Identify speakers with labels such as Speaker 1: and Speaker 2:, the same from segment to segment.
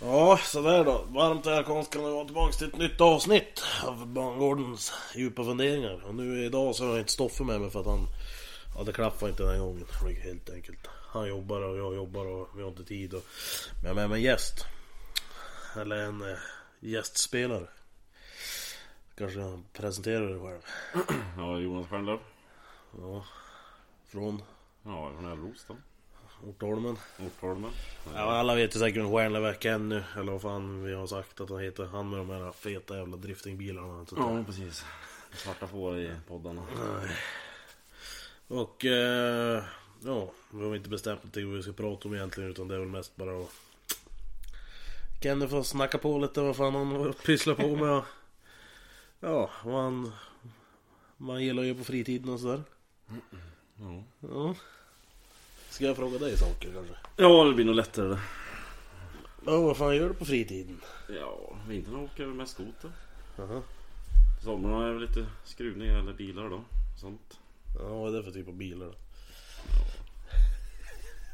Speaker 1: Ja, sådär då. Varmt välkomna ska ni vara tillbaka till ett nytt avsnitt av Bangårdens djupa funderingar. Och nu idag så har jag inte Stoffe med mig för att han... Ja, det klaffade inte den här gången helt enkelt. Han jobbar och jag jobbar och vi har inte tid. Och... Men jag har med mig en gäst. Eller en eh, gästspelare. Kanske jag presenterar dig själv.
Speaker 2: Ja, Jonas Stjernlöf.
Speaker 1: Ja. Från
Speaker 2: Ja, från Älvros då.
Speaker 1: Ortholmen.
Speaker 2: Ortholmen.
Speaker 1: Ja, alla vet ju säkert hur Stjärnlöv ännu. Eller vad fan vi har sagt att han heter. Han med de här feta jävla driftingbilarna. och allt sånt där.
Speaker 2: precis. Svarta får i poddarna.
Speaker 1: Och eh, ja, vi har inte bestämt någonting vad vi ska prata om egentligen utan det är väl mest bara att... Kenny får snacka på lite vad fan han pysslar på med. och- Ja, vad han... Vad han gillar att göra på fritiden och sådär.
Speaker 2: Ja.
Speaker 1: Ja. Ska jag fråga dig saker kanske?
Speaker 2: ja, det blir nog lättare det.
Speaker 1: Ja, vad fan gör du på fritiden?
Speaker 2: Ja, vintern åker jag med skoter.
Speaker 1: Jaha.
Speaker 2: Sommaren är väl lite skruvningar eller bilar då. Sånt.
Speaker 1: Ja, vad är det för typ av bilar då?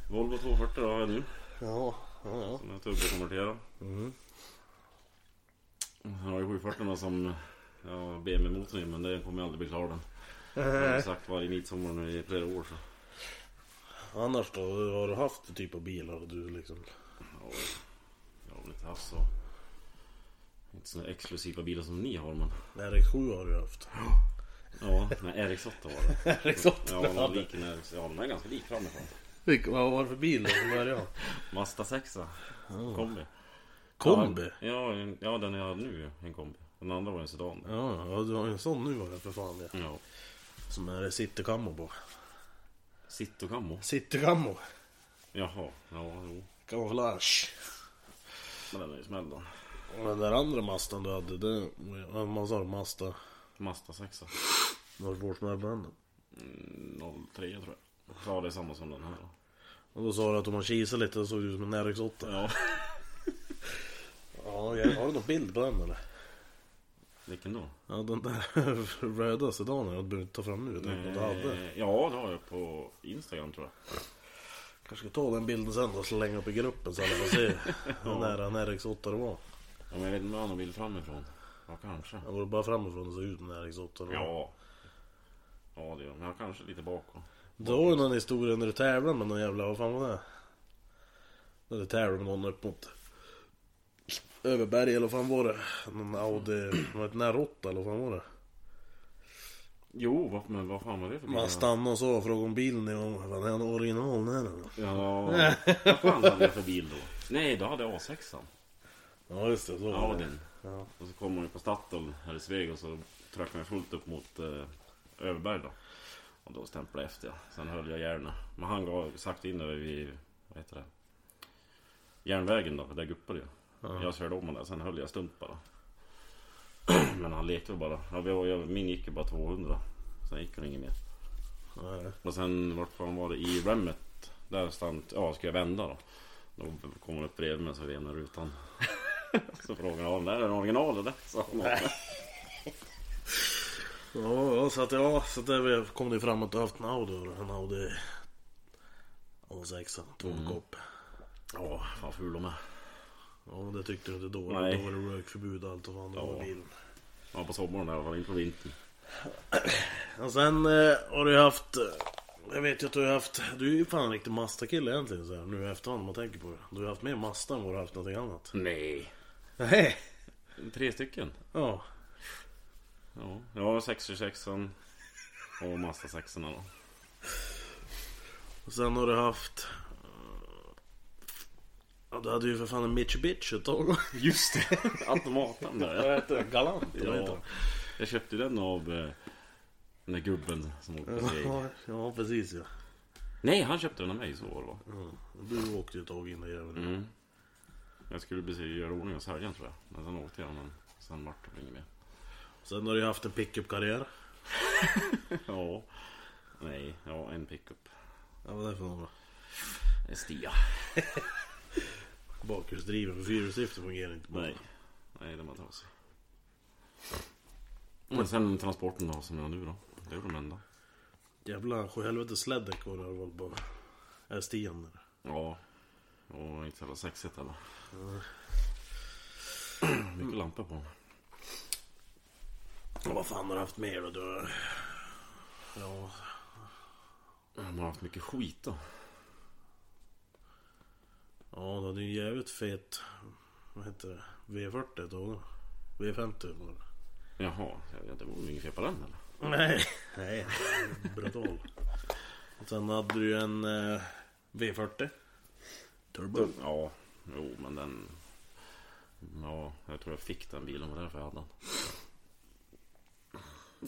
Speaker 2: Volvo 240 då har jag nu.
Speaker 1: Ja, ja, ja.
Speaker 2: Som jag turbokonverterar.
Speaker 1: Mm.
Speaker 2: Sen har jag 740 då som jag har BMW-motorn i men den kommer jag aldrig bli klar den. Jag har ju sagt varje midsommar nu i flera år så.
Speaker 1: Annars då? Har du haft för typ av bilar du liksom?
Speaker 2: Ja, jag har väl inte haft så. Inte såna exklusiva bilar som ni har men.
Speaker 1: RX7 har du haft.
Speaker 2: Ja, nej RX8 var det. Ja,
Speaker 1: RX8
Speaker 2: den
Speaker 1: hade
Speaker 2: liken är, ja, den är ganska lik framifrån.
Speaker 1: Vilk- Vad var det för bil då från början?
Speaker 2: Mazda 6 kombi.
Speaker 1: Oh. Kombi?
Speaker 2: Ja, en- ja, den jag hade nu, en kombi. Den andra var en sedan.
Speaker 1: Ja, ja, du har ju en sån nu var det för fan ja.
Speaker 2: Ja.
Speaker 1: Som är citycammo på.
Speaker 2: Sittokammo.
Speaker 1: Citycammo?
Speaker 2: Jaha, ja, jo.
Speaker 1: Kamouflage.
Speaker 2: Men den är ju smäll då.
Speaker 1: Och Den där andra mastan du hade, det... Vad sa du? Masta?
Speaker 2: Mazda 6
Speaker 1: Varför bort med branden?
Speaker 2: mm, 03 tror jag. Ja, det är samma som den här. då.
Speaker 1: Och då sa du att om man kisade lite så såg det ut som en RX8.
Speaker 2: Ja.
Speaker 1: Ja, jag, har du någon bild på den eller?
Speaker 2: Vilken då?
Speaker 1: Ja, den där röda sedanen. Jag behöver inte ta fram nu. Jag tänkte att du hade.
Speaker 2: Eh, Ja, det har jag på Instagram tror jag.
Speaker 1: Kanske ska ta den bilden sen och slänga upp i gruppen så alla får se hur nära en RX8 det var.
Speaker 2: Ja, men jag vet inte om jag har någon bild framifrån. Ja, kanske.
Speaker 1: Jag går bara framifrån och såg ut som en RX8. det var.
Speaker 2: Ja. Ja, det gör jag. Men jag kanske lite bakom.
Speaker 1: Du har ju någon historia när du tävlar med någon jävla, vad fan var det? När du tävlar med någon upp mot Överberg eller vad fan var det? Någon Audi, var det Narotta eller vad fan var det?
Speaker 2: Jo, vad, men vad fan var det för bild?
Speaker 1: Man stannade och sa och frågade om bilen är om, vad är han original när den?
Speaker 2: Ja, vad fan hade jag för bil då? Nej, då hade jag A6an.
Speaker 1: Ja just det, så var det.
Speaker 2: Audin.
Speaker 1: Ja.
Speaker 2: Och så kom man ju på Statoil här i Sveg och så tröckade jag fullt upp mot eh, Överberg då. Och då stämplade jag efter. Sen höll jag gärna. Men han gav sakta in över vid, vad heter det? Järnvägen då, där guppade jag. Jag körde om den där, sen höll jag stumt bara. Men han lekte väl bara. Ja, vi var- jag, min gick ju bara 200. Sen gick hon inget mer.
Speaker 1: Nej.
Speaker 2: Och sen vart fan var det? I remmet. Där stant, ja ska jag vända då? Då kom hon upp bredvid mig så venade rutan. så frågade jag om det här är en original eller? Sa hon.
Speaker 1: Ja, ja, så att ja, så att där kom det fram att du haft en Audi då, en Audi A6,
Speaker 2: Mm.
Speaker 1: tvåkopp.
Speaker 2: Ja, fan ful de är.
Speaker 1: Ja det tyckte du inte då,
Speaker 2: Nej.
Speaker 1: då var det rökförbud och allt och fan det var
Speaker 2: Ja.
Speaker 1: i bilen.
Speaker 2: Ja på sommaren i alla fall, inte på vintern.
Speaker 1: Och sen eh, har du ju haft... eh, Jag vet ju att du har haft... Du är ju fan en riktig Mazda-kille egentligen så här, nu i efterhand om man tänker på det. Du har haft mer Mazda än vad du har haft någonting annat.
Speaker 2: Nej.
Speaker 1: Nej.
Speaker 2: Tre stycken.
Speaker 1: Ja.
Speaker 2: Ja, ja 626an. Och Mazda 6 då.
Speaker 1: Och sen har du haft... eh, Ja, du hade ju för fan en Mitsubishi ett tag.
Speaker 2: Just det! Automaten där
Speaker 1: heter det? Galant? eller vad heter
Speaker 2: ja. Jag köpte den av eh, den där gubben som åkte
Speaker 1: den?
Speaker 2: till
Speaker 1: Ja, ja, precis ja.
Speaker 2: Nej, han köpte den av mig så var det va?
Speaker 1: Du åkte ju ett tag innan jäveln.
Speaker 2: Mm. Jag skulle precis göra ordning och sälja den, tror jag. Men sen åkte jag men sen vart det inget mer.
Speaker 1: Sen har du ju haft en pickup-karriär.
Speaker 2: Ja. Nej, ja en pickup.
Speaker 1: Ja, vad är det för någon då?
Speaker 2: En Stia.
Speaker 1: Bakhjulsdriven, för fyrhjulsdriften fungerar inte. på
Speaker 2: Nej. Nej, den var trasig. Men sen transporten då som jag har nu då. Det är de enda.
Speaker 1: Jävla sjuhelvete sledden kvar har hållit på. Är stian eller?
Speaker 2: Ja. Och inte så jävla sexigt heller. mycket lampor på den.
Speaker 1: Och vad fan har du haft mer då? Du... Ja,
Speaker 2: Man har haft mycket skit då.
Speaker 1: ja du hade ju en jävligt fet... Vad heter det? V40 då? V50 var det.
Speaker 2: Jaha, jag vet inte, det var inget fel på den eller?
Speaker 1: Nej, nej. Brutal. Och sen hade du ju en eh, V40. Turbo.
Speaker 2: Ja, jo men den... Ja, jag tror jag fick den bilen, det var därför jag hade den.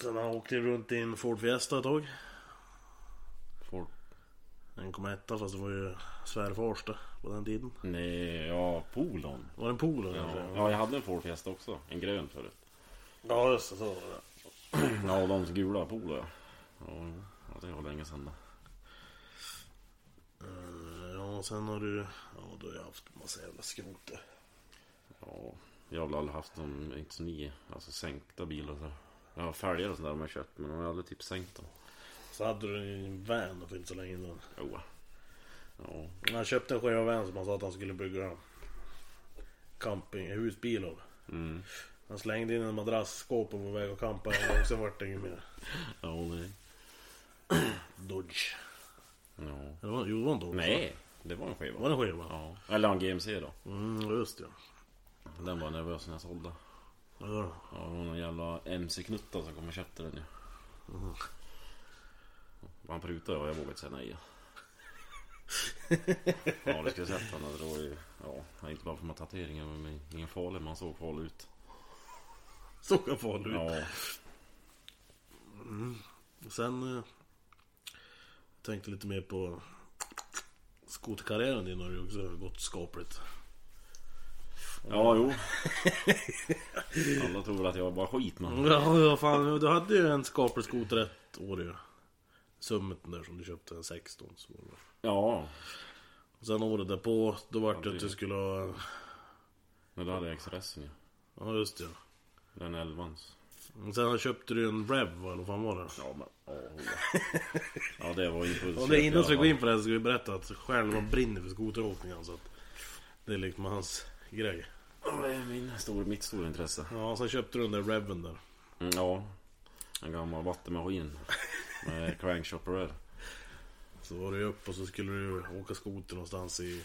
Speaker 1: Sen han åkte runt i en Ford Fiesta ett tag.
Speaker 2: Folk...
Speaker 1: 1,1 fast det var ju svärfars det på den tiden.
Speaker 2: Nej, ja, Polon.
Speaker 1: Var det en Polo kanske?
Speaker 2: Ja, ja, jag hade en Ford Fiesta också. En grön förut.
Speaker 1: ja just det. Så var det.
Speaker 2: Ja, de gula Polo ja. Ja, jo. ja, det var länge sedan då.
Speaker 1: Eh, Ja, sen har du... Ja, du har jag haft massa jävla skrot där.
Speaker 2: Ja, jag har väl aldrig haft dem, inte så nio, alltså sänkta bilar och så. Jag har fälgar och sådär de har köpt, men de har aldrig typ sänkt dem.
Speaker 1: Så hade du en van för inte så länge innan.
Speaker 2: Jo. Ja,
Speaker 1: Men Han köpte en Cheva van som han sa att han skulle bygga camping, husbil av.
Speaker 2: mm.
Speaker 1: Han slängde in en madrasskåp och var väg och campa en gång, sen vart det inget mer.
Speaker 2: Ja, nej.
Speaker 1: Dodge.
Speaker 2: Ja.
Speaker 1: Eller var, jo, det var en Dodge. va?
Speaker 2: Nej, det var en skiva.
Speaker 1: Var det en Cheva?
Speaker 2: Ja, eller en GMC då.
Speaker 1: Mm, just det.
Speaker 2: Den var jag nervös när jag sålde.
Speaker 1: Ja, det var det.
Speaker 2: Ja, det var någon jävla MC-knutta som kom och köpte den ju. Han prutade och jag vågade säga nej. ja, det skulle jag sett han. Det var ju... Ja, inte bara för att tatueringen var med- ingen farlig, men han såg farlig ut.
Speaker 1: Så kan fan du.
Speaker 2: Ja,
Speaker 1: Sen... Eh, tänkte lite mer på skoterkarriären din har ju också gått skapligt.
Speaker 2: ja jo. Alla tror väl att jag bara skit men...
Speaker 1: Ja, ja fan. Du hade ju en skaplig skoter ett år ju. Summiten där som du köpte, en 16. Så var det.
Speaker 2: Ja,
Speaker 1: Och sen året därpå, då vart det att du skulle ha...
Speaker 2: men då hade jag XRSen ju.
Speaker 1: Ja, just det.
Speaker 2: Den 11ans.
Speaker 1: Och sen köpte du en Rev, va, eller vad fan var det?
Speaker 2: Ja, men... Ja, ja det var impulsivt.
Speaker 1: Och det
Speaker 2: i
Speaker 1: innan
Speaker 2: alla
Speaker 1: vi går
Speaker 2: fall.
Speaker 1: in på det här så ska vi berätta att Stjärnman brinner för skoteråkning alltså. Att det är liksom hans grej.
Speaker 2: Ja, Det är min stor, mitt stora intresse.
Speaker 1: Ja, sen köpte du den där Reven där.
Speaker 2: Mm, ja, en gammal vattenmaskin med crankshopperöl.
Speaker 1: Så var du ju upp och så skulle du åka skoter någonstans i...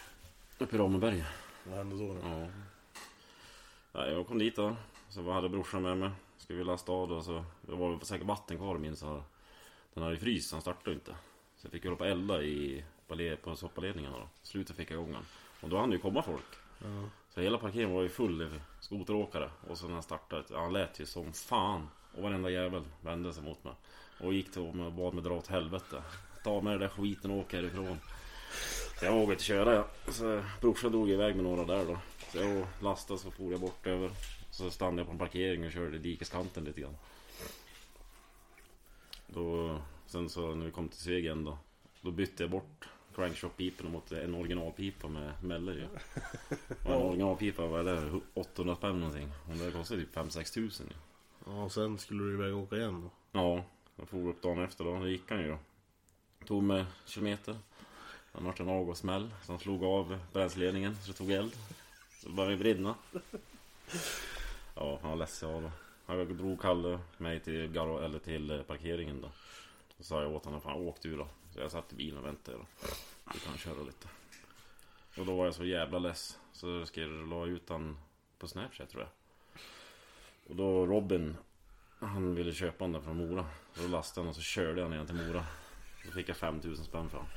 Speaker 2: Uppe i Ramberg.
Speaker 1: Vad hände då? då?
Speaker 2: Ja. ja. Jag kom dit då. Så vad hade brorsan med mig. Skulle vi lasta av då. Så det var väl säkert vatten kvar minns jag. Den hade ju frys, så han startade inte. Så jag fick hålla på och elda i, på le- på soppaledningarna då. Slutet fick jag igång den. Och då hann det ju komma folk.
Speaker 1: Ja.
Speaker 2: Så hela parkeringen var ju full av skoteråkare. Och så när han startade, ja, han lät ju som fan. Och varenda jävel vände sig mot mig. Och gick till mig och bad mig dra åt helvete. Ta med den där skiten och åka härifrån. Så jag vågade inte köra jag. Så brorsan drog iväg med några där då. Så jag lastade så for jag bort över. Så stannade jag på en parkering och körde i dikeskanten lite grann. Då, sen så när vi kom till Svegen då. Då bytte jag bort crankshock-pipen mot en originalpipa med Meller ju. Och en originalpipa, vad är det? 800 spänn någonting. Och det kostar typ 5-6 tusen ju.
Speaker 1: Ja, och sen skulle du iväg och åka igen då.
Speaker 2: Ja, jag for upp dagen efter då. Då gick han ju då. Tog med kilometer. Han vart en avgassmäll som slog av bränsleledningen så det tog eld. Så det började brinna. Ja, han var ledsen av då. Han drog Kalle mig till, garo, eller till eh, parkeringen då. Då sa jag åt honom, fan åk du då. Så jag satt i bilen och väntade då. Du kan köra lite. Och då var jag så jävla less. Så skrev, la jag ut han på Snapchat tror jag. Och då Robin han ville köpa den där från Mora. Så då lastade han och så körde jag den till Mora. Då fick jag 5000 spänn för den.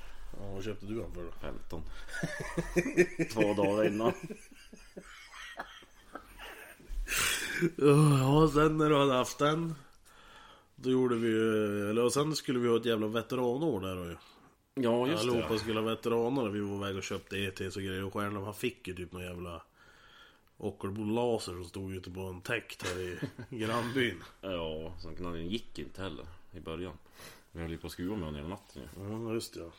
Speaker 1: Ja, vad köpte du den för då?
Speaker 2: 15. Två dagar innan.
Speaker 1: Ja, och sen när du hade haft den. Då gjorde vi ju... Eller och sen skulle vi ha ett jävla veteranår där då ju.
Speaker 2: Ja just det.
Speaker 1: Allihopa
Speaker 2: ja.
Speaker 1: skulle ha veteraner vi var iväg och köpte ETs och grejer och Stjärnlöv han fick ju typ någon jävla Ockelbo laser som stod ute på en täkt här i grannbyn.
Speaker 2: Ja, sen knallen gick inte heller i början. Vi höll ju på att skruva med den hela natten ju.
Speaker 1: Ja just det.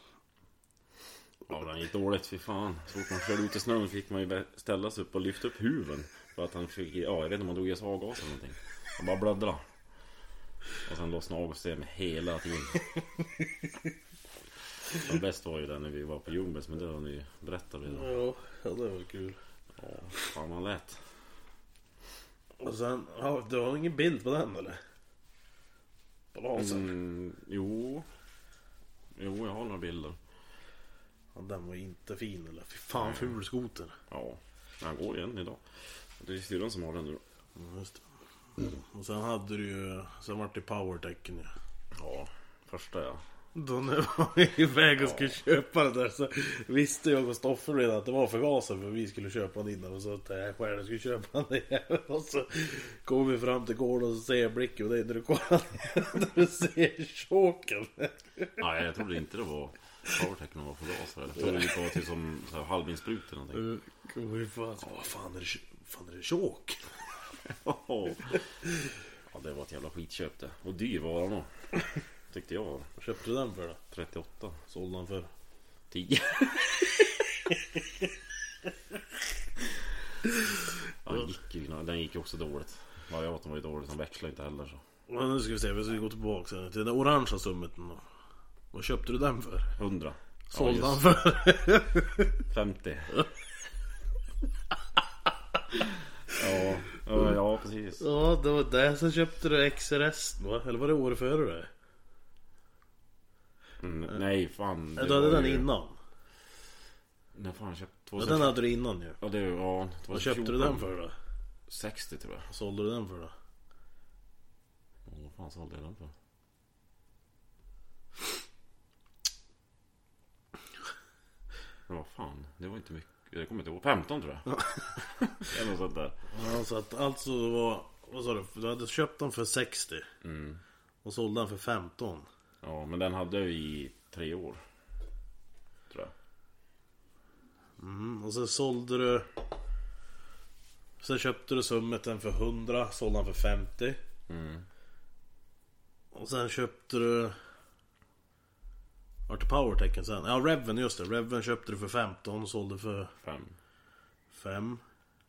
Speaker 2: Ja den gick dåligt, fy fan. Så fort man körde ut i snön fick man ju ställa sig upp och lyfta upp huven. För att han fick, ja jag vet inte om han drog i sig avgas eller någonting. Han bara bläddrade. Och sen lossnade avgassystemet hela tiden. Som bäst var ju det när vi var på Ljungbergs, men det har ni ju berättat redan.
Speaker 1: Ja, ja det var kul.
Speaker 2: Ja, fan man lät.
Speaker 1: Och sen, ja, du har ingen bild på den eller? På lasern?
Speaker 2: Mm, jo. Jo, jag har några bilder.
Speaker 1: Ja, den var inte fin eller? Fy fan ful skoter.
Speaker 2: Ja. Men han går igen idag. Det är syrran som har den nu då.
Speaker 1: Ja, just det. Och sen hade du ju, sen vart det powertecken ju.
Speaker 2: Ja. Första ja.
Speaker 1: Då när jag var iväg och skulle köpa det där så visste jag och Stoffe redan att det var förgasare för vi skulle köpa den innan och så att jag själv skulle köpa den jäveln. och så kom vi fram till gården och så ser jag blicken och det är när du kollar ner när du ser choken.
Speaker 2: Nej, jag trodde inte det var Powertech var på gas. Jag trodde det var typ som så här halvvinsprutor eller någonting.
Speaker 1: Fy fan. Ja, vad fan är det, fan är det chok?
Speaker 2: Ja, det var ett jävla skitköp det. Och dyr var den då. Tyckte jag.
Speaker 1: Vad köpte du den för då?
Speaker 2: 38.
Speaker 1: Sålde den för?
Speaker 2: 10. ja, den gick ju, den gick ju också dåligt. Variatorn var ju dålig, den växlade inte heller så.
Speaker 1: Men nu ska vi se, vi ska gå tillbaka sen till den orangea summeten då. Vad köpte du den för?
Speaker 2: 100.
Speaker 1: Sålde
Speaker 2: ja,
Speaker 1: han
Speaker 2: just
Speaker 1: för?
Speaker 2: 50. ja, ja, ja, precis.
Speaker 1: Ja, det var det. Sen köpte du XRS va? Eller var det året före det?
Speaker 2: Mm, nej, fan.
Speaker 1: Nej,
Speaker 2: det
Speaker 1: du hade
Speaker 2: var
Speaker 1: den
Speaker 2: ju-
Speaker 1: innan.
Speaker 2: När fan köpte
Speaker 1: Ja,
Speaker 2: 2000?
Speaker 1: den hade du innan ju.
Speaker 2: Ja, det, ja,
Speaker 1: Vad köpte du den för då?
Speaker 2: 60 tror jag.
Speaker 1: Vad sålde du den för då?
Speaker 2: Ja, Vad fan sålde jag den för? Men vad fan, det var inte mycket. Jag kommer inte ihåg. 15 tror jag. Eller något sånt där.
Speaker 1: Ja, så att alltså var... Vad sa du? Du hade köpt den för 60.
Speaker 2: Mm.
Speaker 1: Och sålde den för 15.
Speaker 2: Ja, men den hade jag i tre år. Tror jag.
Speaker 1: Mm, och sen sålde du... Sen köpte du summeten för 100, sålde den för 50. Och sen köpte du... Vart det powertecken sen? Ja, Reven, just det. Reven köpte du för 15 och sålde för
Speaker 2: Fem.
Speaker 1: 5.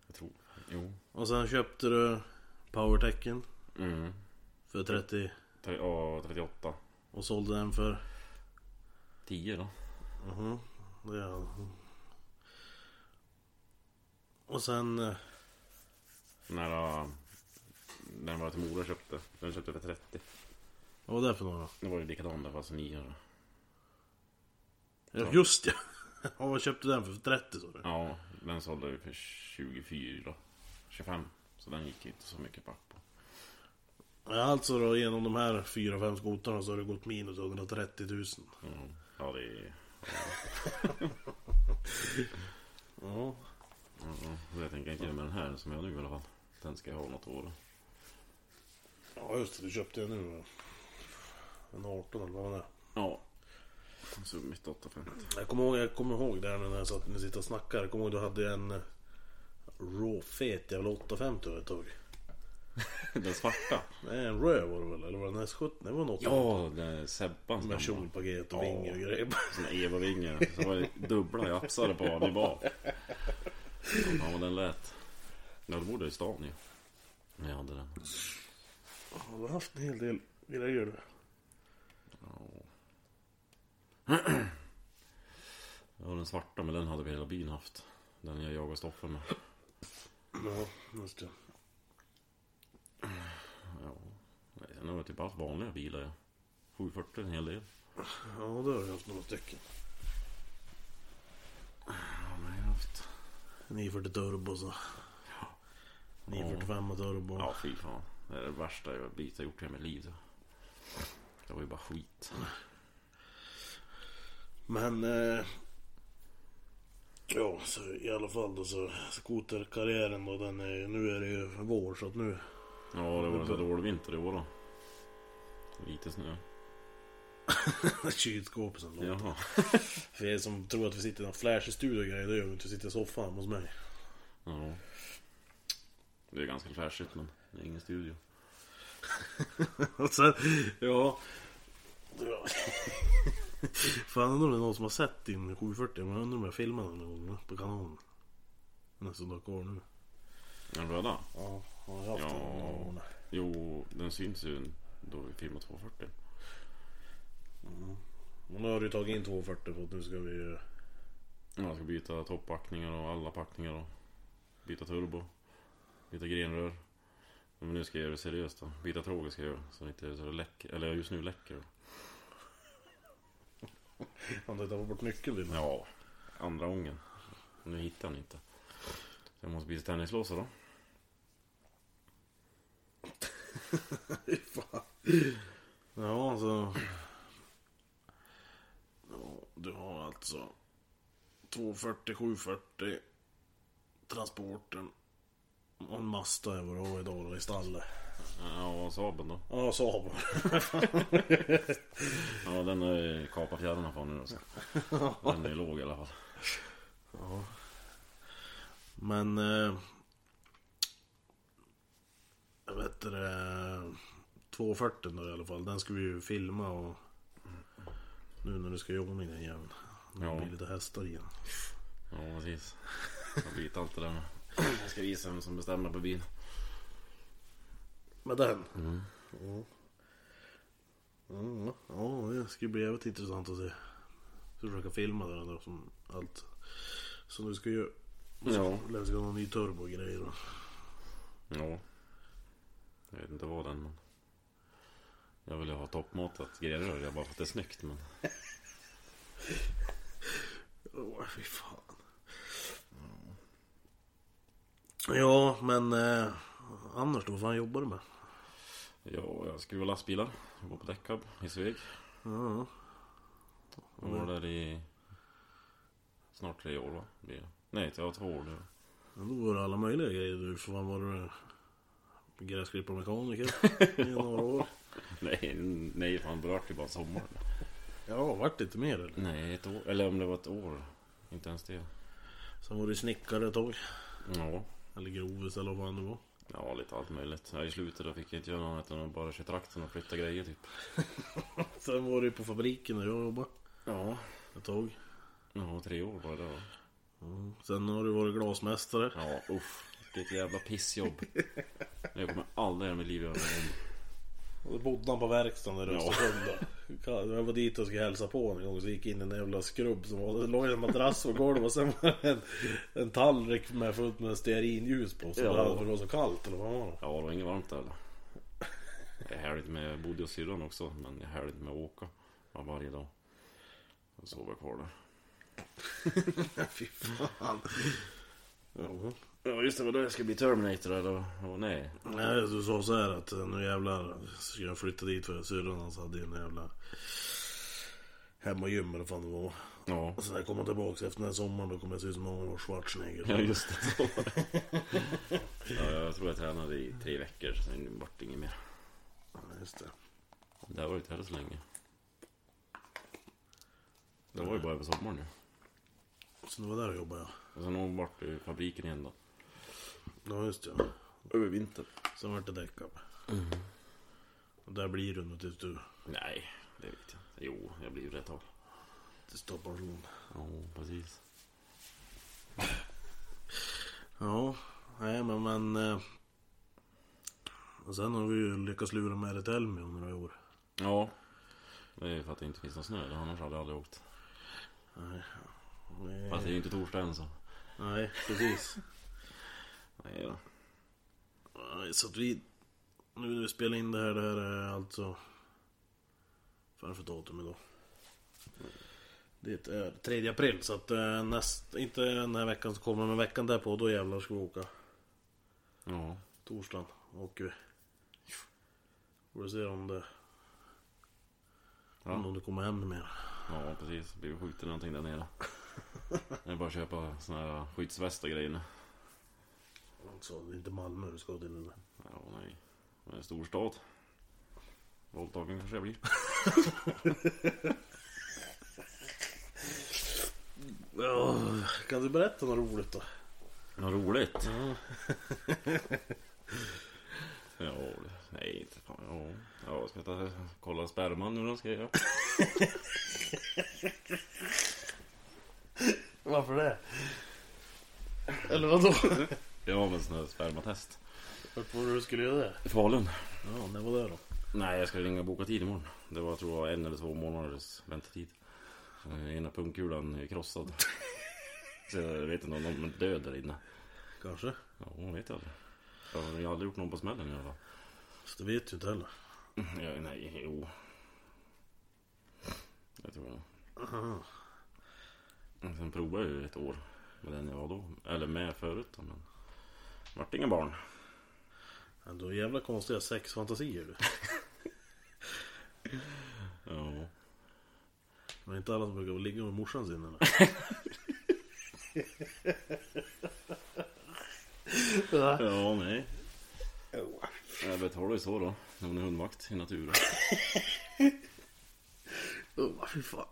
Speaker 2: Jag tror. Jo.
Speaker 1: Och sen köpte du powertecken
Speaker 2: Mm.
Speaker 1: för 30
Speaker 2: Tre, ja, 38.
Speaker 1: och sålde den för... Mhm.
Speaker 2: 10 då.
Speaker 1: Det är... Och sen... eh,
Speaker 2: När, äh, när den var till Mora köpte. Den köpte för 30.
Speaker 1: Vad var det för några?
Speaker 2: Det var ju likadan där fast 900.
Speaker 1: Ja. Just det! Ja, vad köpte du den för? För 30 sa du?
Speaker 2: Ja, den sålde vi för 24 25 Så den gick inte så mycket papp på
Speaker 1: Ja, alltså då genom de här 4-5 skotarna så har det gått minus 130 000.
Speaker 2: mm. Ja det är...
Speaker 1: Ja.
Speaker 2: Mm. Så Jag tänker inte med den här som jag har nu i alla fall Den ska jag ha något år
Speaker 1: Ja just det, du köpte ju nu. En 18 eller vad var det?
Speaker 2: Ja Så mitt 850
Speaker 1: Jag kommer ihåg, jag kommer ihåg det här när jag satt, när jag sitter och snackar. Jag kommer ihåg du hade en eh, råfet jävla 850 över ett tag.
Speaker 2: Den svarta
Speaker 1: Nej en röd var det väl? Eller var det en S70? Nej det var en 850.
Speaker 2: Ja, den är Sebbans
Speaker 1: Med
Speaker 2: gamla
Speaker 1: kjolpaket och
Speaker 2: Ja.
Speaker 1: vinge och grejer.
Speaker 2: Såna Eva-vingar Så var det dubbla japsar på vad det var Ja men den lät Ja då bodde jag i stan ju När jag hade den
Speaker 1: Jag har haft en hel del grejer där.
Speaker 2: Ja den svarta men den hade vi hela byn haft Den jag jagade Stoffe med
Speaker 1: Ja, just det.
Speaker 2: Ja. Nej, sen har jag typ haft vanliga bilar ja. 740 en hel del.
Speaker 1: Ja, det har jag haft några stycken.
Speaker 2: Ja, men jag har haft.
Speaker 1: 940 turbo så. 945 turbo.
Speaker 2: Ja, fy fan. Det är det värsta jag bit har gjort i hela mitt liv. det. Det var ju bara skit.
Speaker 1: Men... Eh, ja, så i alla fall då så skoterkarriären då den är ju- Nu är det ju vår så att nu...
Speaker 2: Ja, det var en så dålig vinter i år då. Lite snö.
Speaker 1: Kylskåpet sen då.
Speaker 2: Jaha.
Speaker 1: För er som tror att vi sitter i någon flashig studio och grejer, det gör vi inte. Vi sitter i soffan hos mig.
Speaker 2: Ja. Det är ganska flashigt men det är ingen studio.
Speaker 1: Och sen, Alltså, ja... ja. Fan undrar om det är någon som har sett din 740, men jag undrar om jag filmade den någon gång på kanalen. Den är så dag kvar nu.
Speaker 2: Den röda?
Speaker 1: Ja, jag har haft den några gånger.
Speaker 2: Jo, den syns ju då vi filmar 240.
Speaker 1: Men nu har du tagit in 240 för att nu ska vi ju...
Speaker 2: Ja, Jag ska byta toppackningar och alla packningar och byta turbo. Byta grenrör. Men nu ska jag göra det seriöst då. Byta tråg ska jag göra. Så det inte så det läcker. Eller just nu läcker det.
Speaker 1: Han har tappat bort nyckeln din.
Speaker 2: Ja, andra gången. Nu hittar han inte. Så jag måste byta tennislåsa då.
Speaker 1: Fan. Ja, alltså. Ja, du har alltså 240, 740 transporten och en Mazda är vad du har idag då i stallet.
Speaker 2: Ja, och Saaben då.
Speaker 1: Ja, Saab.
Speaker 2: Ja, den har jag kapat fjädrarna på nu då. Så. Den är låg i alla fall.
Speaker 1: Men... Eh, jag vet inte det... 240 då i alla fall. Den ska vi ju filma och... Nu när du ska jobba med den jäveln. Det
Speaker 2: Ja.
Speaker 1: blir lite hästar igen.
Speaker 2: Ja, precis. Jag byter allt det där med. Jag ska visa vem som bestämmer på bilen.
Speaker 1: Med den? Mm. Ja. Mm, ja, det ska bli jävligt intressant att se. Ska försöka filma det där som allt. Som du ska göra.
Speaker 2: Ja.
Speaker 1: Eller ska ha en ny turbo och grejer. då.
Speaker 2: Ja. Jag vet inte vad den men... Jag vill ju ha toppmatat grenrör. Jag bara för att det är snyggt men...
Speaker 1: Åh, fy fan. Mm. Ja, men eh, annars då? Vad fan jobbar du med?
Speaker 2: Ja, jag skruvar lastbilar. Jag bor på Däckhub i Sveg.
Speaker 1: Ja,
Speaker 2: Jag var där i... Snart tre år va? Blir det. Nej, jag var två år nu.
Speaker 1: men då var det alla möjliga grejer. Du för fan var du gräsklipparmekaniker i några år.
Speaker 2: Nej, nej fan det vart ju bara sommaren.
Speaker 1: Ja, vart det inte mer eller?
Speaker 2: Nej, ett år. Eller om det var ett år. Inte ens det.
Speaker 1: Sen var du snickare ett tag.
Speaker 2: Ja.
Speaker 1: Eller grovis eller vad fan det var.
Speaker 2: Ja, lite allt möjligt. Ja, I slutet då fick jag inte göra något annat än att bara köra traktorn och flytta grejer typ.
Speaker 1: Sen var du på fabriken där jag jobbade
Speaker 2: Ja.
Speaker 1: ett tag.
Speaker 2: Ja, tre år var det då.
Speaker 1: Sen har du varit glasmästare.
Speaker 2: Ja, uff. Vilket jävla pissjobb. Jag kommer aldrig i mitt liv göra det om.
Speaker 1: Och då bodde han på verkstaden där i
Speaker 2: Ja.
Speaker 1: Östersund. då. Jag var dit och skulle hälsa på honom en gång så gick jag in i en jävla skrubb som var, det låg en madrass på golvet och sen var det en, en tallrik med fullt med stearinljus på. Så
Speaker 2: Ja.
Speaker 1: bara, för det var så kallt eller vad var det?
Speaker 2: Ja, det var inget varmt där eller? Jag härligt med, jag bodde hos syrran också, men jag härligt med att åka. Ja, varje dag. Och sov jag kvar där.
Speaker 1: Fy fan. Ja.
Speaker 2: Ja, just det. Var då jag skulle bli Terminator eller? Oh, nej.
Speaker 1: Nej, du sa så här att eh, nu jävlar ska jag flytta dit för syrran hans hade en jävla hemmagym eller vad fan det var.
Speaker 2: Ja.
Speaker 1: Och sen när jag kommer tillbaka efter den här sommaren då kommer jag se ut som Arnold Schwarzenegger.
Speaker 2: Ja just det. ja, jag tror jag tränade i tre veckor, sen vart det inget mer.
Speaker 1: Just det.
Speaker 2: Det har varit här så länge. Det var ju bara över sommaren nu.
Speaker 1: Så det var där jag jobbade ja.
Speaker 2: Och sen vart det ju fabriken igen då.
Speaker 1: Ja just det. ja.
Speaker 2: Över vintern?
Speaker 1: Sen vart det däckab. Och där blir du nog tills du
Speaker 2: Nej, det vet jag inte. Jo, jag blir ju det ett tag.
Speaker 1: tills du har pension.
Speaker 2: Ja, precis.
Speaker 1: Ja. Nej men men. Eh... Och sen har vi ju lyckats lura med det till Elmia om några år.
Speaker 2: Ja. Det är ju för att det inte finns någon snö, det annars hade jag aldrig åkt.
Speaker 1: Nej,
Speaker 2: Fast det är ju inte torsdag än så.
Speaker 1: Nej precis.
Speaker 2: Nej då.
Speaker 1: Nej, Så att vi. Nu när vi spelar in det här. Det här är alltså. Vad är det för datum idag? Det är 3 april så att eh, näst, inte den här veckan som kommer men veckan därpå då jävlar ska vi åka.
Speaker 2: Ja.
Speaker 1: Torsdagen åker vi. Får se om det...
Speaker 2: Ja.
Speaker 1: Om det kommer hem mer.
Speaker 2: Ja, precis. Blir vi skjuten eller någonting där nere. Det är bara att köpa såna här skyddsväst och grejer nu.
Speaker 1: Alltså det är inte Malmö du ska till eller?
Speaker 2: Ja, nej. Men en stor stad. Våldtagen kanske jag blir.
Speaker 1: Ja, kan du berätta något roligt då?
Speaker 2: Vad roligt. ja, det- nej inte fan. Ja, ja ska jag ta, kolla sperman nu då ska jag göra.
Speaker 1: Varför det? Eller vadå?
Speaker 2: Ja, men sån här spermatest.
Speaker 1: Vart var det du skulle göra det?
Speaker 2: I Falun.
Speaker 1: Ja, det var det då.
Speaker 2: Nej, jag ska ringa och boka tid imorgon. Det var, jag tror jag var en eller två månaders väntetid. Eh, Ena pungkulan är krossad. Så jag vet inte om de är död där inne.
Speaker 1: Kanske.
Speaker 2: Ja, hon vet jag aldrig. Jag har aldrig gjort någon på smällen i alla fall.
Speaker 1: Fast det vet ju inte heller.
Speaker 2: Ja, nej, jo. Jag tror det. Och Sen provade jag ju ett år med den jag var då. Eller med förut då, men... Vart inga barn.
Speaker 1: Men du har jävla konstiga sexfantasier du.
Speaker 2: Ja.
Speaker 1: Det är inte alla som brukar ligga med morsan sin eller?
Speaker 2: Ja, nej. Jag betalar ju så då. När man är hundvakt i naturen.
Speaker 1: Åh, fy fan.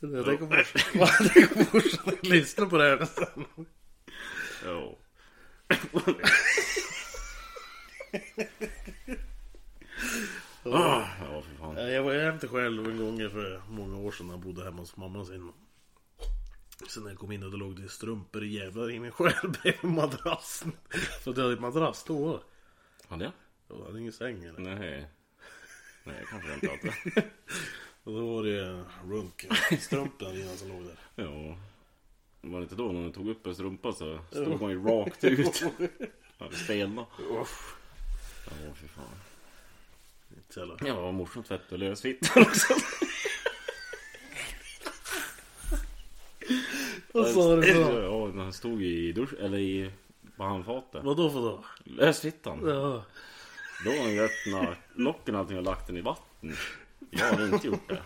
Speaker 1: Jag tänker på morsan- jag tänker på morsan lyssnar på det här sen.
Speaker 2: Ja. Ah, ja, för fan.
Speaker 1: Jag var hem till själv en gång för många år sedan när jag bodde hemma hos mamma sin. Sen när jag kom in och då låg det strumpor i jävlar i min själ bredvid madrassen. Så det hade ett madrass då.
Speaker 2: Hade jag?
Speaker 1: Jag hade ingen säng eller.
Speaker 2: Nej. Nej, jag kanske inte hade.
Speaker 1: Och då var det runk strumpan innan som låg där.
Speaker 2: Ja. Var det inte då när hon tog upp en strumpa så stod hon ju rakt ut. Ja, det stelnade.
Speaker 1: Uff.
Speaker 2: Ja, fy fan.
Speaker 1: Inte så jävla...
Speaker 2: Ja, morsan tvättade lösfittan också.
Speaker 1: Vad sa du då?
Speaker 2: Ja, när han stod i dusch, eller i, på handfatet.
Speaker 1: Vadå för då?
Speaker 2: Lösfittan.
Speaker 1: Ja.
Speaker 2: Då har han ju öppnat locken och allting och lagt den i vatten. Jag hade inte gjort det.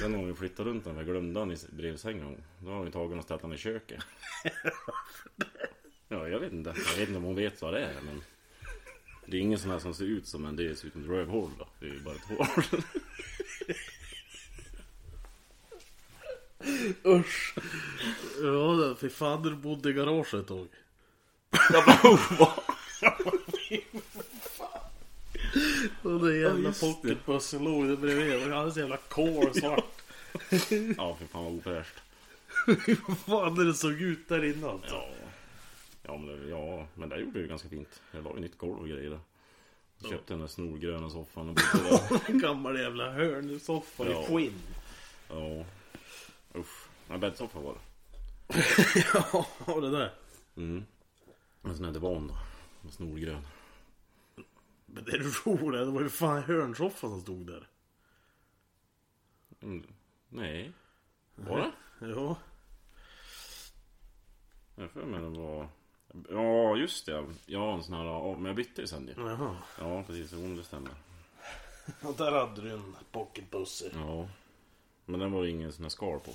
Speaker 2: Sen har hon ju flyttat runt den, för jag glömde den i brevsängen. Då har hon ju tagit den och ställt den i köket. Ja, jag vet inte. Jag vet inte om hon vet vad det är, men... Det är ingen sån här som ser ut som en, det ser ut som ett rövhål då. Det är ju bara ett hål.
Speaker 1: Usch. Ja, fy fan du bodde i garaget ett tag.
Speaker 2: Jag bara, oh, vad?
Speaker 1: Och den jävla
Speaker 2: just det.
Speaker 1: pocketbussen låg där bredvid. Och hade så jävla kolsvart.
Speaker 2: Ja, för fan vad ofräscht.
Speaker 1: Hur fan det såg ut där inne alltså.
Speaker 2: Ja. Ja men, det, ja, men det gjorde jag ju ganska fint. Jag la ju nytt golv och grejer där. Jag köpte den där snorgröna soffan och bodde där.
Speaker 1: En gammal jävla hörnsoffa
Speaker 2: Ja.
Speaker 1: i skinn.
Speaker 2: Ja. Usch. Nej, bäddsoffa var det.
Speaker 1: Ja, det där.
Speaker 2: Mm. Men sen är det van då. Den var Snorgrön.
Speaker 1: Men det roliga, det var ju fan hörnsoffan som stod där.
Speaker 2: Mm. Nej. Var det?
Speaker 1: Ja.
Speaker 2: Jag för mig det var... Ja just det. Jag har en sån här... ja, Men jag bytte ju sen ju.
Speaker 1: Jaha.
Speaker 2: Ja precis. Jo det stämmer.
Speaker 1: Och där hade du en pocketbuss. i.
Speaker 2: Ja. Men den var ju ingen sån här skal på.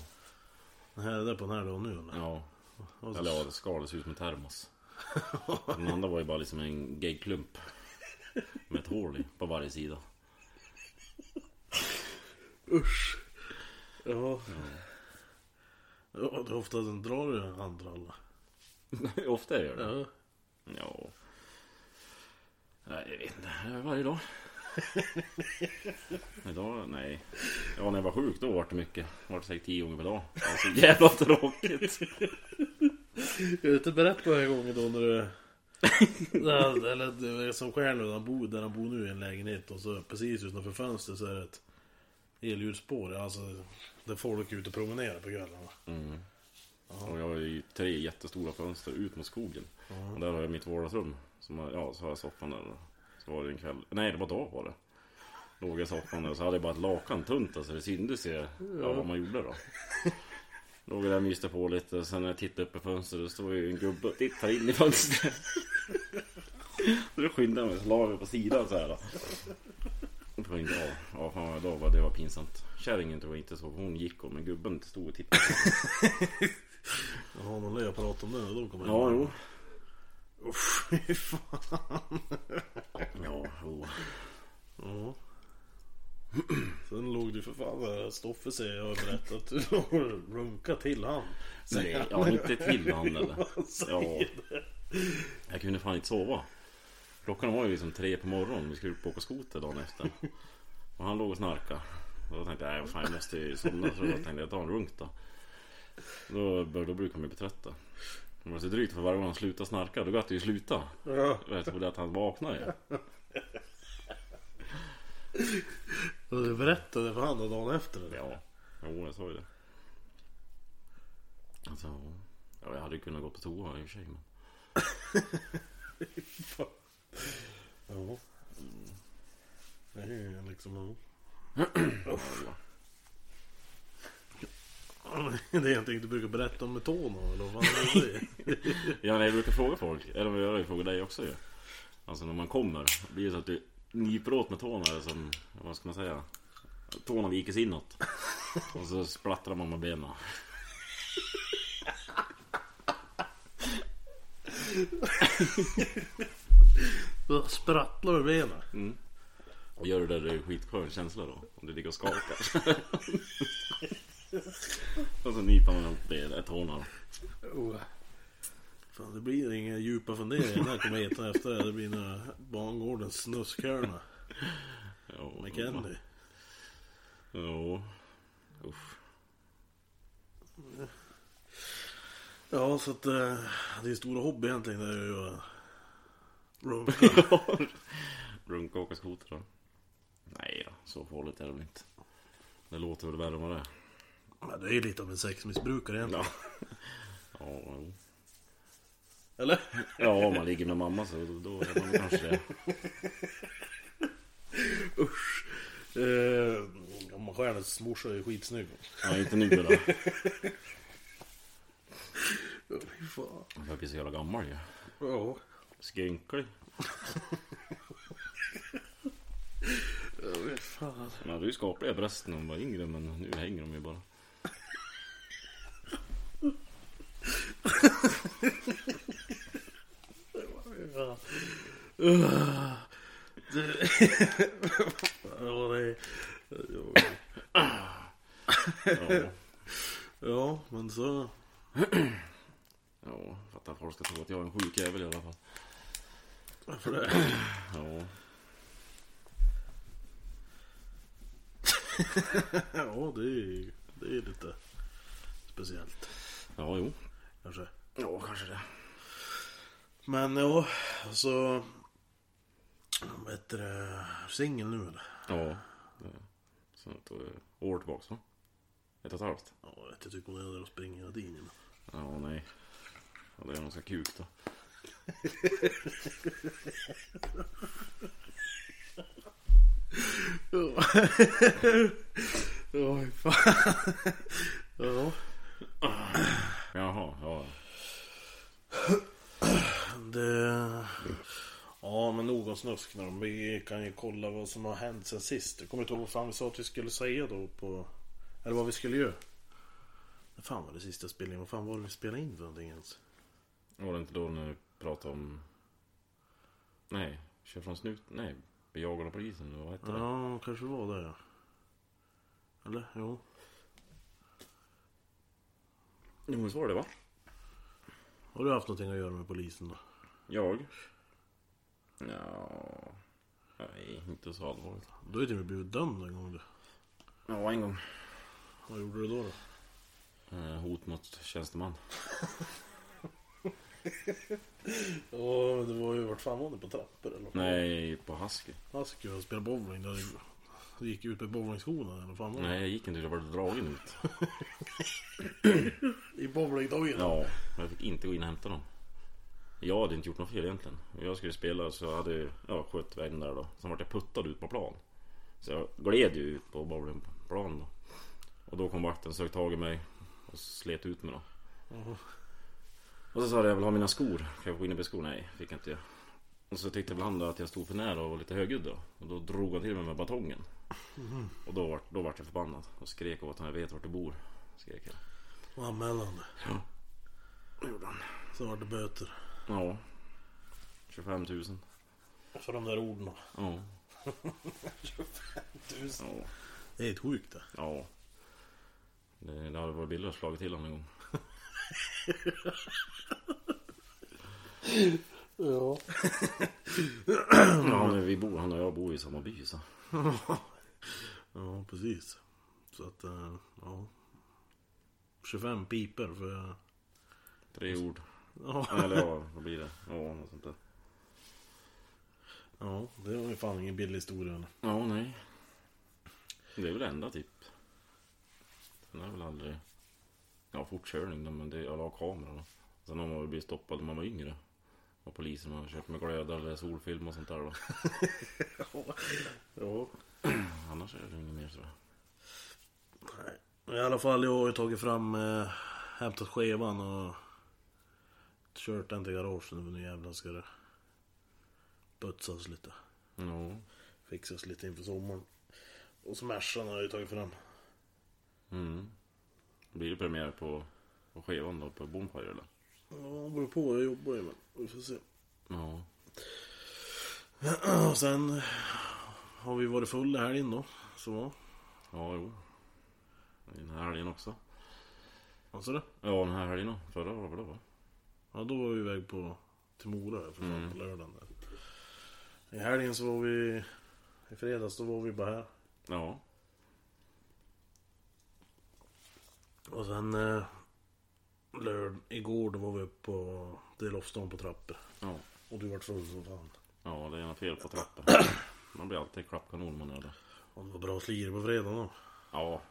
Speaker 1: Den här är där på den här då nu eller?
Speaker 2: Ja.
Speaker 1: Och så-
Speaker 2: Eller ja, det skal. Det ser ut som en termos. Den andra var ju bara liksom en geggklump. Med ett hål i på varje sida.
Speaker 1: Usch. Ja. Ja, det är ofta den drar ju en handtralla.
Speaker 2: Ofta gör det.
Speaker 1: Ja.
Speaker 2: Ja. Nej, jag vet inte. Det är Varje dag. Idag? Nej. Ja, när jag var sjuk då var det mycket. Var det säkert tio gånger per dag. Det var så jävla tråkigt.
Speaker 1: Jag har inte berättat den här gången då när du... Nej, Eller det är som själv nu, han bor där han bor nu i en lägenhet och så precis utanför fönstret så är det ett elljusspår. Alltså där folk är ute och promenerar på kvällarna.
Speaker 2: Och jag har ju tre jättestora fönster ut mot skogen. Och där har jag mitt vardagsrum. Som har, ja, så har jag soffan där. Så var det en kväll. Nej, det var dag var det. Låg jag i soffan där så hade jag bara ett lakan tunt alltså. Det syntes ju ja, vad man gjorde då. Låg jag där och myste på lite. Sen när jag tittade upp i fönstret då stod ju en gubbe och tittade in i fönstret. Så då skyndade jag mig så la jag mig på sidan så här då. Och tänkte, ja, ja fan vad då var det var pinsamt. Kärringen tror jag inte så. Hon gick om men gubben stod och tittade.
Speaker 1: Jag har någon jag pratat om det när de kommer
Speaker 2: Ja, jo.
Speaker 1: Uff, fy fan.
Speaker 2: Ja, jo.
Speaker 1: Ja. Sen låg du för fan där. Stoffe säger jag har berättat. Du låg och runkade till han.
Speaker 2: Nej, ja, inte till han eller.
Speaker 1: Han säger
Speaker 2: Ja. Jag kunde fan inte sova. Klockan var ju liksom tre på morgonen. Vi skulle upp och åka skoter dagen efter. Och han låg och snarkade. Och då tänkte jag, nej vad fan jag måste ju somna. Så då tänkte jag, jag tar en runk då. Då, bör- då brukar man ju bli trött då. Det var så drygt för varje gång han slutade snarka, då gatt det ju sluta.
Speaker 1: Ja.
Speaker 2: Jag trodde att han vaknade ju.
Speaker 1: Och du berättade för han då dagen efter? eller?
Speaker 2: Ja, jo jag sa ju det. Alltså, ja, jag hade ju kunnat gå på toa i och för sig men...
Speaker 1: Ja. Mm. Det är ju liksom... Det är någonting du brukar berätta om med tårna eller vad fan är det?
Speaker 2: Ja, nej, jag brukar fråga folk, eller jag har ju frågat dig också ju. Alltså när man kommer, det blir det så att du nyper åt med tårna eller som, vad ska man säga? Tårna vikes inåt. Och så splattrar man med benen.
Speaker 1: Då sprattlar du benen.
Speaker 2: Och gör du det, det är ju skitskön känsla då. Om du ligger och skakar. och så nyper man ihop det, det är tårna. då.
Speaker 1: Fan, det blir inga djupa funderingar när jag kommer hit efter det. Det blir några bangårdens snuskhörna
Speaker 2: Ja,
Speaker 1: med Kenny.
Speaker 2: Ja. Usch.
Speaker 1: Ja, så att eh, din stora hobby egentligen det är ju... eh, Runka.
Speaker 2: Runka och åka skoter då? Nej då, så farligt är det väl inte. Det låter väl värre än vad det är.
Speaker 1: Men det är ju lite av en sexmissbrukare egentligen.
Speaker 2: Ja. Ja, jo.
Speaker 1: Eller?
Speaker 2: ja, om man ligger med mamma så då är man kanske det.
Speaker 1: Eh, ja, man själv morsa är ju skitsnygg.
Speaker 2: Ja, inte nu då.
Speaker 1: Fy fan.
Speaker 2: Jag blir så jävla gammal ju.
Speaker 1: Ja.
Speaker 2: Skrynklig.
Speaker 1: Fy fan.
Speaker 2: Man hade ju skapliga bröst när man var yngre men nu hänger de ju bara.
Speaker 1: Uh, du... ja, det är...
Speaker 2: Ja,
Speaker 1: ja, men så...
Speaker 2: ja fattar att folk ska tro att jag är en sjuk jävel i alla fall.
Speaker 1: För det...
Speaker 2: Ja,
Speaker 1: Ja, det är ju det är lite speciellt
Speaker 2: ja jo.
Speaker 1: kanske.
Speaker 2: Ja, kanske det.
Speaker 1: Men ja, så... Vad heter det? Singel nu eller?
Speaker 2: Ja. det- Så ett eh, år tillbaks va? Ett och ett halvt?
Speaker 1: Ja, jag vet, jag tycker hon är där och springer hela tiden.
Speaker 2: Ja, nej. Ja, det är nog så kuk då.
Speaker 1: Ja, Oj, fan. Ja,
Speaker 2: Jaha, ja.
Speaker 1: det... Ja, men nog om snusk. när de- Vi kan ju kolla vad som har hänt sen sist. Jag kommer inte ihåg vad fan vi sa att vi skulle säga då på... Eller vad vi skulle göra. Vad fan var det sista spelningen? Vad fan var det vi spelade in för någonting ens?
Speaker 2: Var det inte då när vi pratade om... Nej, kör från snut... Nej, bejagarna på isen eller vad hette det?
Speaker 1: Ja, kanske var det ja. Eller? Jo.
Speaker 2: Jo, visst var det va?
Speaker 1: Har du haft någonting att göra med polisen då?
Speaker 2: Jag? Ja... Nej, inte så allvarligt.
Speaker 1: Du har ju till och med blivit dömd en gång du.
Speaker 2: Ja, en gång.
Speaker 1: Vad gjorde du då? då?
Speaker 2: Eh, hot mot tjänsteman.
Speaker 1: Ja, det var ju... Vart fan var det? På trappor eller?
Speaker 2: Nej, på Husky.
Speaker 1: Jag skulle spela bowling. Där jag gick ut med bowlingskorna eller vad fan var det?
Speaker 2: Nej, jag gick inte. Jag blev dragen ut.
Speaker 1: I bowlingdagen?
Speaker 2: Ja, men jag fick inte gå in och hämta dem. Jag hade inte gjort något fel egentligen. Jag skulle spela så jag hade jag skött vägen där då. Sen vart jag puttad ut på plan. Så jag gled ju ut på bowlingplan då. Och då kom vakten och sög tag i mig och slet ut mig då. Och så sa jag, jag vill ha mina skor. Kan jag gå in och be skor? Nej, fick jag inte göra. Och så tyckte väl han då att jag stod för nära och var lite högljudd då. Och då drog han till mig med batongen. Och då vart, då vart jag förbannad och skrek åt honom, jag vet vart du bor. Skrek jag.
Speaker 1: Och anmälan.
Speaker 2: Det gjorde han.
Speaker 1: Så var det böter.
Speaker 2: Ja. 25 000.
Speaker 1: För de där orden.
Speaker 2: Ja.
Speaker 1: Tusen.
Speaker 2: Ja.
Speaker 1: Det är helt sjukt det.
Speaker 2: ja. Det, det hade varit billigare att slagit till honom en gång.
Speaker 1: Ja.
Speaker 2: Ja, men vi bor, han och jag bor i samma by så.
Speaker 1: Ja, precis. Så att, eh, ja. 25 piper för...
Speaker 2: Tre ord.
Speaker 1: Ja.
Speaker 2: Eller ja, vad blir det? Ja, något sånt där.
Speaker 1: ja, det var ju fan ingen billig historia.
Speaker 2: Ja, nej. Det är väl det enda typ. Sen har jag väl aldrig... Ja, fortkörning då, men det, jag la kameran. Sen har man väl blivit stoppad när man var yngre. Av polisen. Man har kört med glödare eller solfilm och sånt där då.
Speaker 1: Ja.
Speaker 2: Annars är det väl inget mer tror jag.
Speaker 1: I alla fall, jag har ju tagit fram, eh, hämtat skivan och kört den till garaget nu. Nu jävlar ska det putsas lite.
Speaker 2: Ja.
Speaker 1: Fixas lite inför sommaren. Och smashan har jag ju tagit fram.
Speaker 2: Mm. Blir det premiär på, på skivan då? På Bonfire eller?
Speaker 1: Ja, det beror på. Jag jobbar ju men vi får se.
Speaker 2: Ja.
Speaker 1: Och sen har vi varit fulla här inne då. Så.
Speaker 2: Ja, jo. Den här helgen också.
Speaker 1: Vad sa du?
Speaker 2: Ja, den här helgen då. Förra var det väl va?
Speaker 1: Ja, då var vi iväg på, till Mora här för fan på lördagen. Där. I helgen så var vi... I fredags då var vi bara här.
Speaker 2: Ja.
Speaker 1: Och sen... Eh, lörd, igår då var vi uppe på Delofsdagen på trappor.
Speaker 2: Ja.
Speaker 1: Och du vart full som fan.
Speaker 2: Ja, det är något fel på trappan. Man blir alltid klappkanon man är där.
Speaker 1: Och det var bra slir på fredagen då.
Speaker 2: Ja.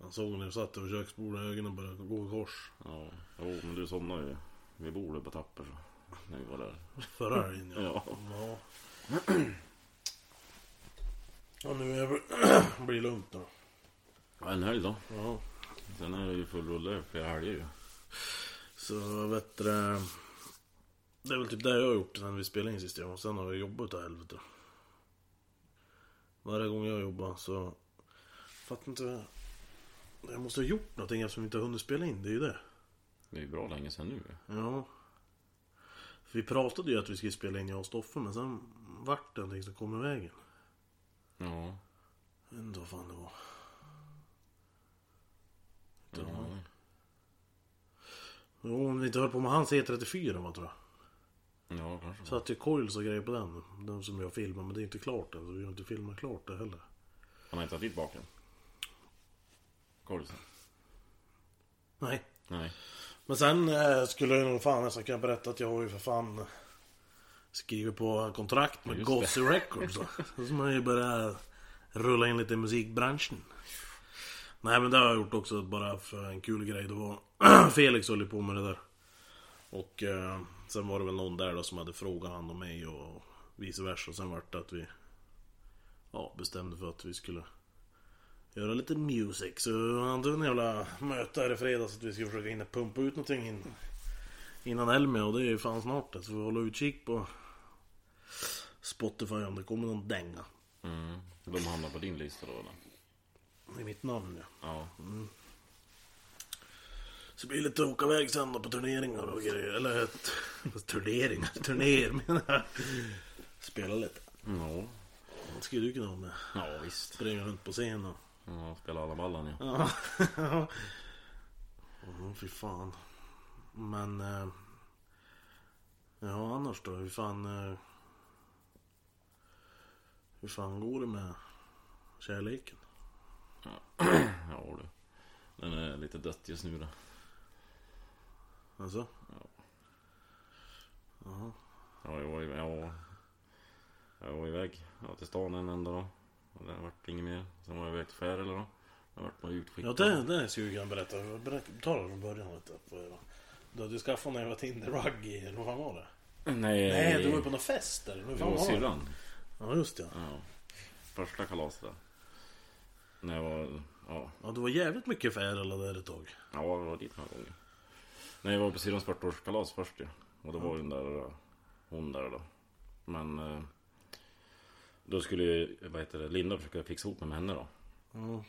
Speaker 1: Han såg när vi satt över köksbordet, ögonen började gå i kors.
Speaker 2: Ja. Jo, men du somnade ju. Vi borde på tapper så. När vi var där.
Speaker 1: Förra helgen
Speaker 2: Ja.
Speaker 1: ja. Och nu är det blir lugnt då.
Speaker 2: Ja, en helg då.
Speaker 1: Ja.
Speaker 2: Sen är det ju full rulle flera helger ju.
Speaker 1: Så vet du, det- Det är väl typ det jag har gjort sen vi spelade in sist jag var. Sen har jag jobbat utav helvete. Varje gång jag jobbar så... Fattar inte... vad jag- Jag måste ha gjort någonting eftersom vi inte har hunnit spela in. Det är ju det.
Speaker 2: Det är ju bra länge sen nu ju.
Speaker 1: Ja. Vi pratade ju att vi skulle spela in jag och Stoffe men sen vart det någonting som kom i vägen.
Speaker 2: Ja.
Speaker 1: Jag vet inte vad fan det var.
Speaker 2: Det har man ju.
Speaker 1: Jo, om vi inte höll på med hans E34 va tror jag.
Speaker 2: Ja, kanske.
Speaker 1: Satt ju coils och grejer på den. Den som jag filmade, men det är inte klart än. Så vi har inte filmat klart det heller.
Speaker 2: Han har inte tagit dit baken. Kolsen.
Speaker 1: Nej.
Speaker 2: Nej.
Speaker 1: Men sen eh, skulle jag nog fan nästan kunna berätta att jag har ju för fan eh, skrivit på kontrakt med
Speaker 2: Just det.
Speaker 1: Gossi Records. va. Så ska man ju börja rulla in lite i musikbranschen. Nej men det har jag gjort också bara för en kul grej. Det var Felix höll ju på med det där. Och eh, sen var det väl någon där då som hade frågat han och mig och vice versa. Och sen vart det att vi ja, bestämde för att vi skulle göra lite music. Så han hade en jävla möte här i fredags att vi skulle försöka hinna pumpa ut någonting in, innan Elmia. Och det är ju fan snart det. Så vi håller utkik på Spotify om det kommer någon dänga.
Speaker 2: Mm. De hamnar på din lista då eller?
Speaker 1: I mitt namn ja.
Speaker 2: Ja.
Speaker 1: Så det blir lite åka iväg sen då på turneringar och grejer. Eller ett, turneringar, turnéer menar jag. Spela lite.
Speaker 2: Ja.
Speaker 1: Det skulle du kunna ha med.
Speaker 2: Ja, visst.
Speaker 1: Springa runt på scen och...
Speaker 2: Ja, spela alla ballan ja.
Speaker 1: Ja. Åh, fy fan. Men... Eh, ja, annars då? Hur fan... Eh, hur fan går det med kärleken?
Speaker 2: Ja du. Den är lite dött just nu då.
Speaker 1: Alltså?
Speaker 2: Ja, jag var iväg. Ja. Jag var iväg ja, till stan en enda dag. Och det vart inget mer. Sen var jag iväg till Färila då. Jag vart bara utskickad.
Speaker 1: Ja, det, det skulle jag kunna berätta. Jag berätt- talade från början lite. på- Du hade ju skaffat när jag var Tinder-ruggy, eller vad fan var det?
Speaker 2: Nej,
Speaker 1: Nej, du var ju
Speaker 2: på...
Speaker 1: på någon fest eller? Hur
Speaker 2: Det
Speaker 1: fan
Speaker 2: var
Speaker 1: var det?
Speaker 2: syrran.
Speaker 1: Ja, just det. ja.
Speaker 2: Ja. Första kalaset där. När jag var... Ja.
Speaker 1: Ja, det var jävligt mycket Färila där ett tag.
Speaker 2: Ja, jag var dit några gånger. Nej, jag var på syrrans 40-årskalas först ju. Och då var den där, eh, hon där då. Men eh, då skulle ju, vad heter det, Linda försöka fixa ihop mig med henne då.
Speaker 1: Mm.
Speaker 2: Och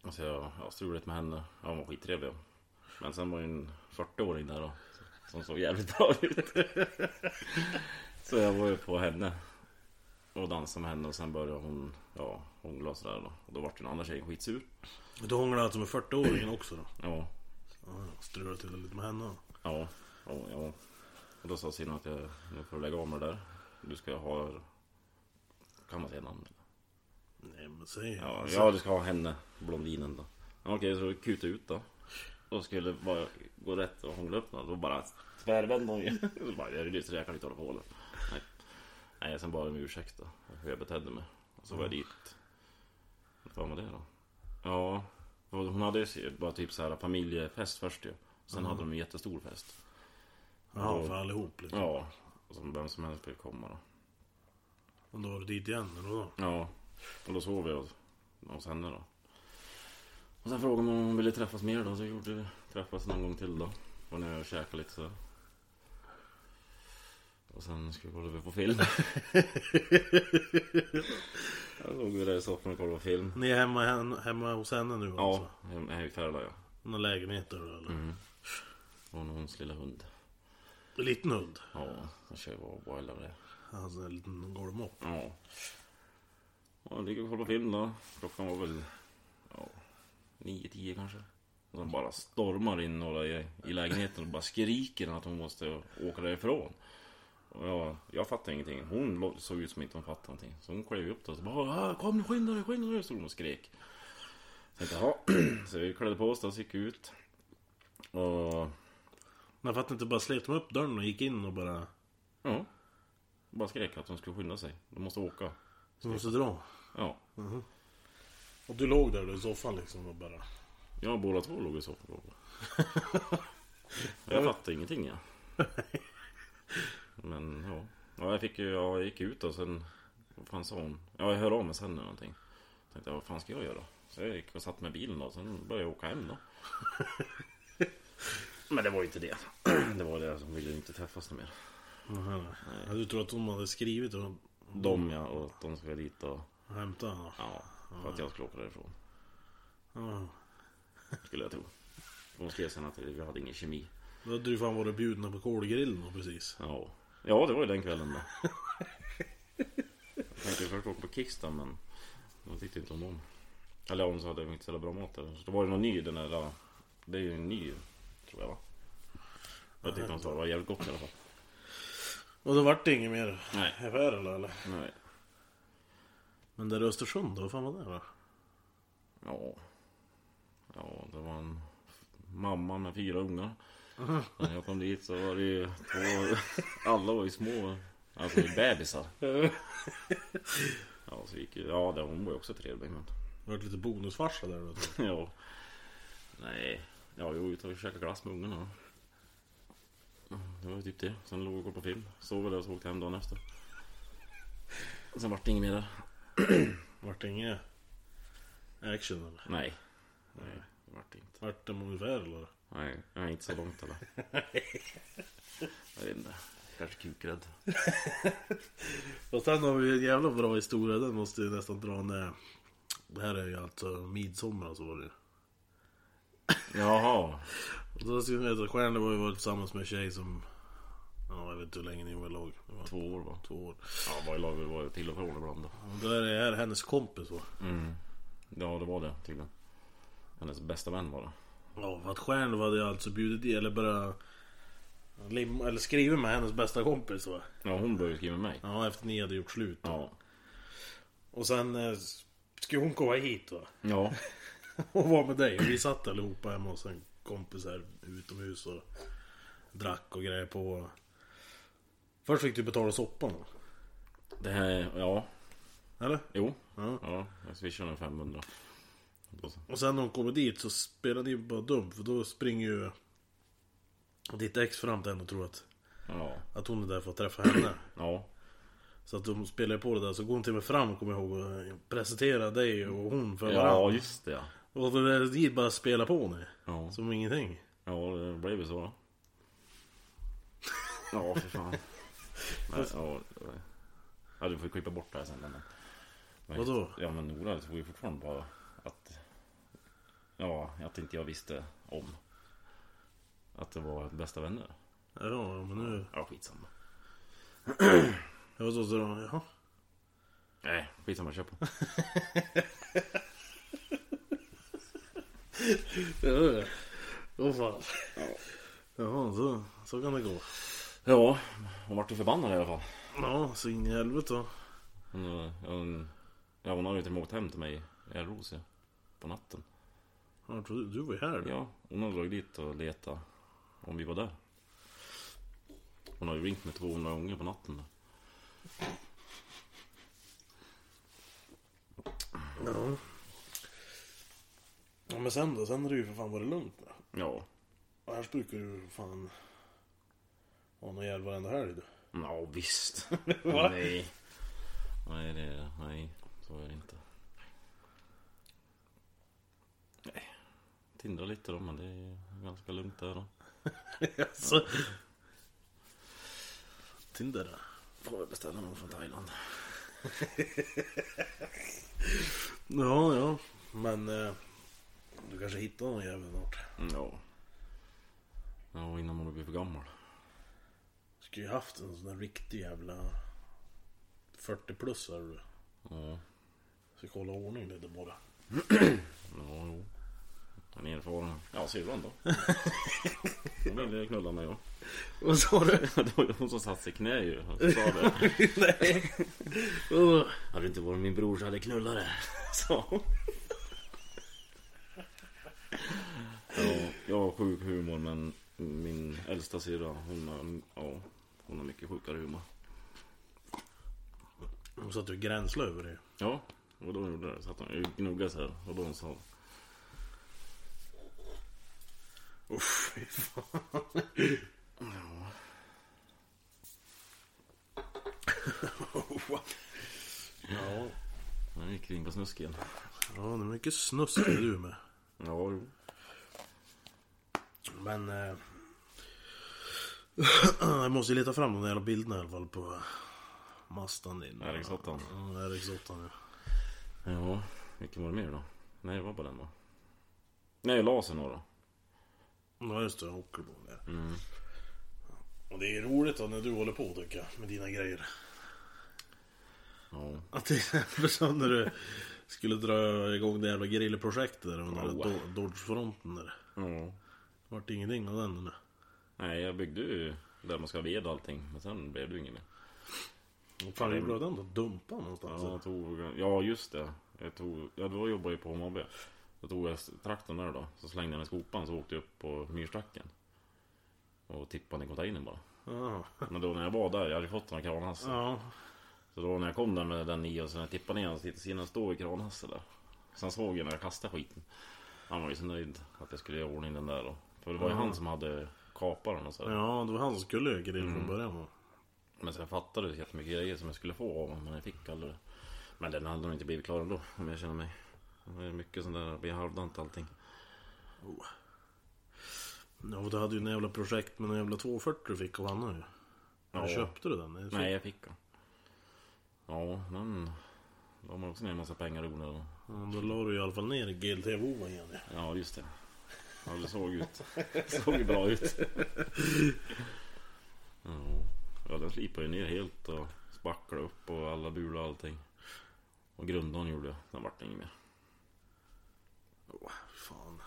Speaker 2: så Alltså, jag, jag strulade med henne. Ja, hon var skittrevlig. Men sen var ju en 40-åring där då. Som såg jävligt bra ut. så jag var ju på henne. Och dansade med henne och sen började hon, ja, hångla och sådär då. Och då vart den andra tjejen skitsur.
Speaker 1: Du hånglade alltså med 40-åringen också då?
Speaker 2: Ja,
Speaker 1: Ja, jag strulade till det lite med henne.
Speaker 2: Ja, ja, ja. Och då sa Sina att jag, nu får du lägga av med det där. Du ska ha... Kan man säga namn?
Speaker 1: Nej men säg.
Speaker 2: Ja,
Speaker 1: Alltså,
Speaker 2: ja du ska ha henne, blondinen då. Ja, Okej, så kuta ut då. Då skulle det bara gå rätt och hångla upp något. Då bara tvärvände hon ju. Så bara, jag är lyster, jag kan inte hålla på hålla. Mm. Nej. Nej, sen bad jag om ursäkt då. Hur jag betedde mig. Och så var jag dit. Vad fan var det då? Ja, och hon hade ju bara typ så här familjefest först ju. Sen hade de en jättestor fest.
Speaker 1: Ja, för allihop liksom.
Speaker 2: Ja, och som vem som helst fick komma då.
Speaker 1: Och då var du dit igen eller då?
Speaker 2: Ja, och då sov jag hos henne då. Och sen frågade man om hon ville träffas mer då, så gjorde vi träffas någon gång till då. Var nere och käkade lite så. Och sen skulle vi kolla på film. jag låg ju där i soffan och kollade på film.
Speaker 1: Ni är hemma, hen- hemma hos henne nu
Speaker 2: Ja,
Speaker 1: alltså?
Speaker 2: hem- här i Färla ja.
Speaker 1: Några lägenheter eller?
Speaker 2: Hon och hennes lilla hund.
Speaker 1: En liten hund?
Speaker 2: Ja, så kör vi och wild över det.
Speaker 1: Alltså en liten golvmopp?
Speaker 2: Ja. Och ligger och kollar på film då. Klockan var väl... Ja, nio, tio kanske. Och de bara stormar in några i, i lägenheten och bara skriker att hon måste åka därifrån. Och jag, jag fattade ingenting. Hon lå- såg ut som inte hon fattade någonting. Så hon klev upp då och så bara "Ah, Kom nu skynda dig, skynda dig! Stod hon och skrek. Så jag tänkte, "Jaha." Så vi klädde på oss då och gick ut. Och...
Speaker 1: Men jag fattar inte, bara slet de upp dörren och gick in och bara...
Speaker 2: Ja. Bara skrek att de skulle skynda sig. De måste åka.
Speaker 1: De måste dra.
Speaker 2: Ja.
Speaker 1: Och du låg där då i soffan liksom och bara...
Speaker 2: Ja, båda två låg i soffan. då. jag fattade ingenting ja. Men ja. ja jag, fick, ju- ja, jag gick ut och sen... Vad fan sa hon? Ja, jag hörde av mig sen eller någonting. Tänkte, vad fan ska jag göra? Så jag gick och satt med bilen då. och Sen började jag åka hem då. Men det var ju inte det. Det var det som ville inte träffas nu mer.
Speaker 1: Aha. Ja, du tror att hon hade skrivit och
Speaker 2: De ja, och att de skulle dit och...
Speaker 1: hämtat henne?
Speaker 2: Ja, för att jag skulle åka därifrån.
Speaker 1: Ja.
Speaker 2: Skulle jag tro. De skrev sen att vi hade ingen kemi.
Speaker 1: Då hade du fan varit bjudna på kolgrillen och precis.
Speaker 2: Ja. ja, det var ju den kvällen då. Jag tänkte först åka på Kickstad men de tyckte inte om dem. Eller om så hade de inte så jävla bra mat där. Så det var ju någon ny den där. ja, Det är ju en ny tror jag va. Jag tyckte de sa det var jävligt gott i alla fall.
Speaker 1: Och då vart det inget mer
Speaker 2: Nej.
Speaker 1: affär eller? eller?
Speaker 2: Nej.
Speaker 1: Men där i Östersund då, vad fan var det va?
Speaker 2: Ja. Ja, det var en mamma med fyra ungar. När jag kom dit så var det ju två... Alla var ju små. Alltså bebisar. Ja, så gick ju... Ja, det- hon var ju också trevlig men...
Speaker 1: Det vart lite bonusfarsa där då. tror
Speaker 2: Ja. Nej. Ja, jo, ut och käkade glass med ungarna. Det var ju typ det. Sen låg jag och kollade på film. Sov väl där och så åkte jag hem dagen efter. Sen vart det inget mer där.
Speaker 1: jag. Vart det inget action eller?
Speaker 2: Nej. Nej, det vart det inte.
Speaker 1: Vart det ungefär eller?
Speaker 2: Nej, jag är inte så långt eller? Jag vet inte. Kanske kukrädd.
Speaker 1: Och sen har vi en jävla bra historia, den måste ju nästan dra när... Det här är ju alltså midsommar så var det ju.
Speaker 2: Jaha.
Speaker 1: Och då ska ni veta, Stjärne var ju varit tillsammans med en tjej som... Ja, jag vet inte hur länge ni var i lag. Det var
Speaker 2: Två år va?
Speaker 1: två år.
Speaker 2: Ja, var i lag var jag till och från ibland då.
Speaker 1: Och då är det här hennes kompis va?
Speaker 2: Ja, det var det tydligen. Hennes bästa vän var det.
Speaker 1: Ja, för att Stjärnlöv hade ju alltså bjudit i, eller bara... Lim, eller skrivit med hennes bästa kompis va?
Speaker 2: Ja, hon började skriva med mig.
Speaker 1: Ja, efter ni hade gjort slut.
Speaker 2: Ja.
Speaker 1: Och sen eh, s- skulle hon komma hit va?
Speaker 2: Ja.
Speaker 1: Och vara med dig. Och vi satt allihopa hemma hos en kompis här utomhus och drack och grejer på. Först fick du betala soppan va?
Speaker 2: Det här, ja.
Speaker 1: Eller?
Speaker 2: Jo.
Speaker 1: Ja.
Speaker 2: Ja, jag swishade en 500. Då så.
Speaker 1: Och sen när hon kommer dit så spelar ni bara dumt för då springer ju ditt ex fram till henne och tror att,
Speaker 2: Ja.
Speaker 1: att hon är där för att träffa henne.
Speaker 2: Ja.
Speaker 1: Så att de spelar ju på det där så går hon till och med fram kommer jag ihåg och presenterar dig och hon för
Speaker 2: Ja,
Speaker 1: varandra.
Speaker 2: just det ja.
Speaker 1: Och det där ni bara spelar på nu.
Speaker 2: Ja,
Speaker 1: Som ingenting.
Speaker 2: ja det blev ju så då. Ja, för fan. Nej, ja, det- ja, du får klippa bort det här sen. Men... men-
Speaker 1: Vadå?
Speaker 2: Ja, men Nora tror ju fortfarande på att... Ja, att inte jag visste om. Att det var bästa vänner.
Speaker 1: Ja men nu...
Speaker 2: Ja, skitsamma.
Speaker 1: Jag var så så då, jaha.
Speaker 2: Nej, skitsamma, kör på.
Speaker 1: Åh oh, fan. Jaha, så, så kan det gå.
Speaker 2: Ja, hon vart ju förbannad i alla fall.
Speaker 1: Ja, så in i helvete. då.
Speaker 2: Hon, eh, hon, ja, hon har ju inte åkt hem till mig i Ros ja, på natten.
Speaker 1: Ja, jag trodde- Du var ju här.
Speaker 2: Ja, hon har dragit dit och letat om vi var där. Hon har ju ringt mig 200 gånger på natten.
Speaker 1: Ja. Ja, men sen då? Sen har det ju för fan varit lugnt nu.
Speaker 2: Ja.
Speaker 1: Annars brukar du fan... Ha någon jävla varenda helg du.
Speaker 2: Mm, Ja visst.
Speaker 1: Va?
Speaker 2: nej. Nej, det är, nej, så är det inte. Nej. Tindrar lite då, men det är ganska lugnt där då.
Speaker 1: Alltså. Tinder. Får jag beställa någon från Thailand. ja, ja. Men eh, du kanske hittar någon jävel snart.
Speaker 2: Ja. Ja, innan man blir för gammal.
Speaker 1: Skulle ju haft en sån där riktig jävla 40 plus är du.
Speaker 2: Ja.
Speaker 1: Ska kolla ordning lite bara.
Speaker 2: Ja, jo. Han är erfaren. Ja, syrran då. Hon ville knulla mig då.
Speaker 1: Vad sa du?
Speaker 2: Det var ju hon som satte sig i knä ju. Hon sa det.
Speaker 1: Nej. Åh,
Speaker 2: Hade det inte varit min bror så hade jag knullat dig. Sa hon. Ja, jag har sjuk humor men min äldsta syrra hon har, ja, hon har mycket sjukare humor.
Speaker 1: Hon satt ju och gränslade över det.
Speaker 2: Ja, och då gjorde det. Så att hon gnuggade så här. Och då hon sa
Speaker 1: Uff, fy fan. Ja. ja.
Speaker 2: Nu gick vi in på snusken.
Speaker 1: Ja, det är mycket snusk är du med.
Speaker 2: Ja, jo.
Speaker 1: Men... Eh, jag måste ju leta fram de där jävla bilderna i alla fall på Mastan din.
Speaker 2: RX-8.
Speaker 1: Ja, RX-8 ja.
Speaker 2: Ja, vilken var det mer då? Nej, det var bara den va? Nej, lasern var det.
Speaker 1: Ja just det, jag åker på den där.
Speaker 2: Mm.
Speaker 1: Och det är roligt då när du håller på tycker jag, med dina grejer.
Speaker 2: Ja.
Speaker 1: Att till exempel som när du skulle dra igång det jävla grillprojektet där under
Speaker 2: Oh.
Speaker 1: Do- Dodge-fronten där.
Speaker 2: ja.
Speaker 1: Vart ingenting av den nu.
Speaker 2: Nej, jag byggde ju där man ska ha ved och allting. Men sen blev det ju inget mer.
Speaker 1: Vad fan det blev den då? Dumpa någonstans?
Speaker 2: Ja, jag tog, ja just det. Jag tog, ja, då jobbade jag på HMAB. Då tog jag traktorn där då. Så slängde jag den i skopan så åkte jag upp på myrstacken. Och tippade i containern bara.
Speaker 1: Ja.
Speaker 2: Men då när jag var där, jag hade ju fått den här kranhassen.
Speaker 1: Ja.
Speaker 2: Så då när jag kom där med den i och sen när jag tippade ner den så tittade jag stå i kranhassen där. Sen såg jag när jag kastade skiten. Han var ju så nöjd att jag skulle göra i ordning den där då. För det var ju han som hade kapat den och så.
Speaker 1: ja, det var han som skulle göra grill
Speaker 2: Mm.
Speaker 1: från början va?
Speaker 2: Men sen fattade jag jättemycket grejer som jag skulle få av honom men jag fick aldrig det. Men den hade nog inte blivit klar ändå om jag känner mig. Det är mycket sånt där, det blir halvdant allting.
Speaker 1: Ja, och du hade ju en jävla projekt med en jävla 240 du fick av Anna ju. Ja.
Speaker 2: Ja.
Speaker 1: Köpte du den? Är det så?
Speaker 2: Nej, jag fick den. Ja, men... Då har man också ner en massa pengar i onödan.
Speaker 1: Ja, då la du i alla fall ner GLT-vovan igen ju.
Speaker 2: Ja, just det. Ja, det såg ut. såg ju bra ut. Ja, ja den slipade ju ner helt och spacklade upp och alla bulor och allting. Och grundan gjorde jag. Sen vart det inget mer.
Speaker 1: Åh, fan.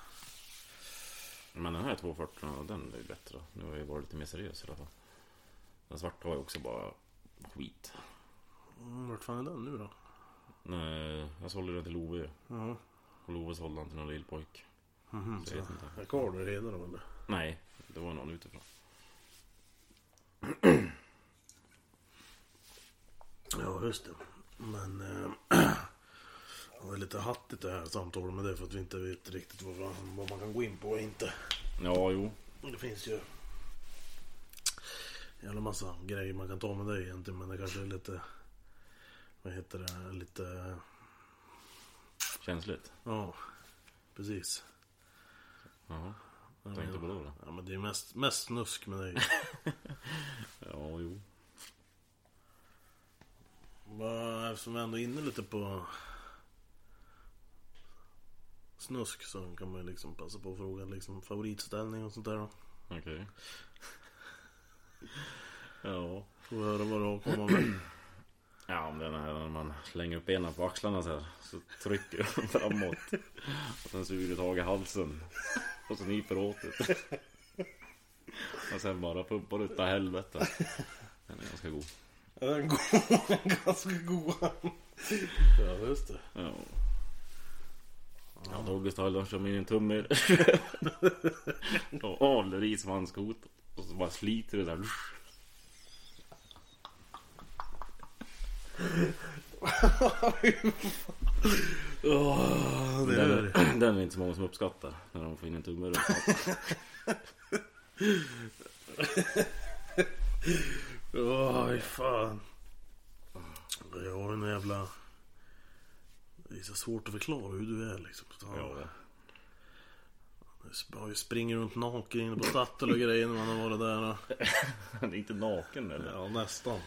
Speaker 2: Men den här 240 den är ju bättre. Nu har jag varit lite mer seriös i alla fall. Den svarta var ju också bara skit.
Speaker 1: Mm, Vart fan är den nu då?
Speaker 2: Nej, jag sålde den till Love ju.
Speaker 1: Ja.
Speaker 2: Och Love sålde den till någon lillpojk.
Speaker 1: Mhm,
Speaker 2: Så
Speaker 1: så
Speaker 2: jag vet inte.
Speaker 1: är kvar där redan då eller?
Speaker 2: Nej, det var någon utifrån.
Speaker 1: Ja, just det. Men... Eh, det var lite hattigt det här samtalet med det för att vi inte vet riktigt vad, fan- vad man kan gå in på och inte.
Speaker 2: Ja, jo.
Speaker 1: Det finns ju... En jävla massa grejer man kan ta med dig egentligen men det kanske är lite... Vad heter det? Lite...
Speaker 2: Känsligt.
Speaker 1: Ja, precis.
Speaker 2: Jaha,
Speaker 1: Ja,
Speaker 2: tänkte
Speaker 1: men-
Speaker 2: på det då.
Speaker 1: Ja men det är mest, mest snusk med dig.
Speaker 2: Ja, jo.
Speaker 1: Bara Eftersom vi ändå är inne lite på snusk så kan man ju liksom passa på att fråga liksom favoritställning och sånt där. då.
Speaker 2: Okej. Ja.
Speaker 1: Får vi höra vad du har att komma med.
Speaker 2: Ja, om den här när man slänger upp benen på axlarna så här. Så trycker de framåt. Och sen suger du tag i halsen. Och så nyper du åt det. Och sen bara pumpar du utav helvete. Den är ganska god.
Speaker 1: Ja, Den är god. Den är ganska god. Ja just det.
Speaker 2: Ja. Ja, då August Halldorf kör in en tumme. Och avlar i svanskotan. Och så bara sliter det där.
Speaker 1: Åh, det är...
Speaker 2: Den, den är inte så många som uppskattar när de får in en tumme runt hakan.
Speaker 1: Åh, fy fan. Jag har en jävla... Det är så svårt att förklara hur du är liksom.
Speaker 2: Ja,
Speaker 1: Ja. Jag springer runt naken inne på Statoil och grejer när man har varit där. och-
Speaker 2: Han är inte naken eller?
Speaker 1: Ja, nästan.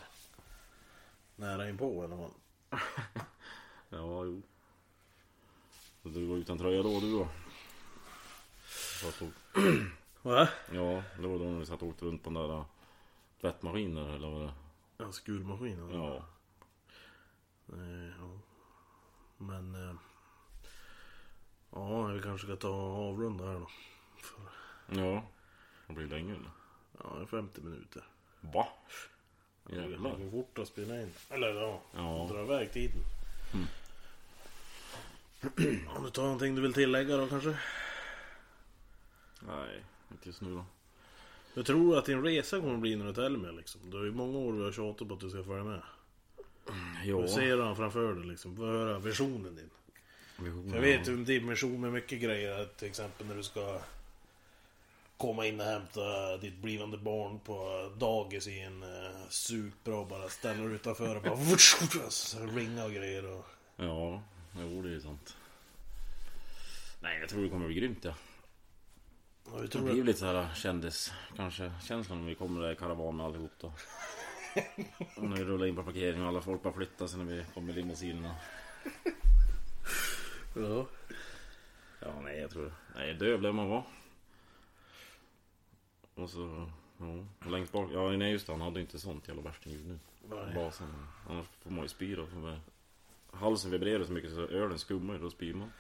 Speaker 1: Nära inpå eller man.
Speaker 2: Ja, jo. Så du var utan tröja då du då? Satt och-
Speaker 1: Va?
Speaker 2: Ja, det var då när vi satt och åkte runt på den där äh, tvättmaskinen eller vad det
Speaker 1: Ja, skurmaskinen.
Speaker 2: Ja.
Speaker 1: Eh, ja. Men... Eh, ja, vi kanske ska ta och avrunda här då. För,
Speaker 2: Ja. Det blir länge eller?
Speaker 1: ja, det är 50 minuter.
Speaker 2: Va?
Speaker 1: Det
Speaker 2: Jävlar.
Speaker 1: går fort att spela in. Eller ja,
Speaker 2: Ja. Mm.
Speaker 1: dra iväg tiden. Om du tar någonting du vill tillägga då kanske?
Speaker 2: Nej, inte just nu då.
Speaker 1: Jag tror att din resa kommer bli när du till Elmia liksom. Det är ju många år vi har tjatat på att du ska följa med.
Speaker 2: Ja.
Speaker 1: Du ser den framför dig liksom. Få höra visionen din. För jag vet ju en dimension med mycket grejer. att Till exempel när du ska komma in och hämta ditt blivande barn på dagis i en eh, supra och bara ställa dig utanför och bara vutsch, vutsch, alltså, så ringa och grejer. Och...
Speaker 2: Ja, jo det är ju sant. Nej, jag tror det kommer bli grymt ja.
Speaker 1: Ja, hur
Speaker 2: Det
Speaker 1: tror
Speaker 2: blir
Speaker 1: du?
Speaker 2: lite så här kändis kanske känslan när vi kommer där i karavan med allihop då. Och när vi rullar in på parkeringen och alla folk bara flyttar sig när vi kommer i limousinerna.
Speaker 1: Ja.
Speaker 2: Ja, nej jag tror Nej, döv lär man vara. Och så... Ja, och längst bak. Ja, nej just det, han hade ju inte sånt jävla värstingljud nu.
Speaker 1: Nej.
Speaker 2: Basen. Annars får man ju spy då. För man- Halsen vibrerar så mycket så ölen skummar ju, då spyr man.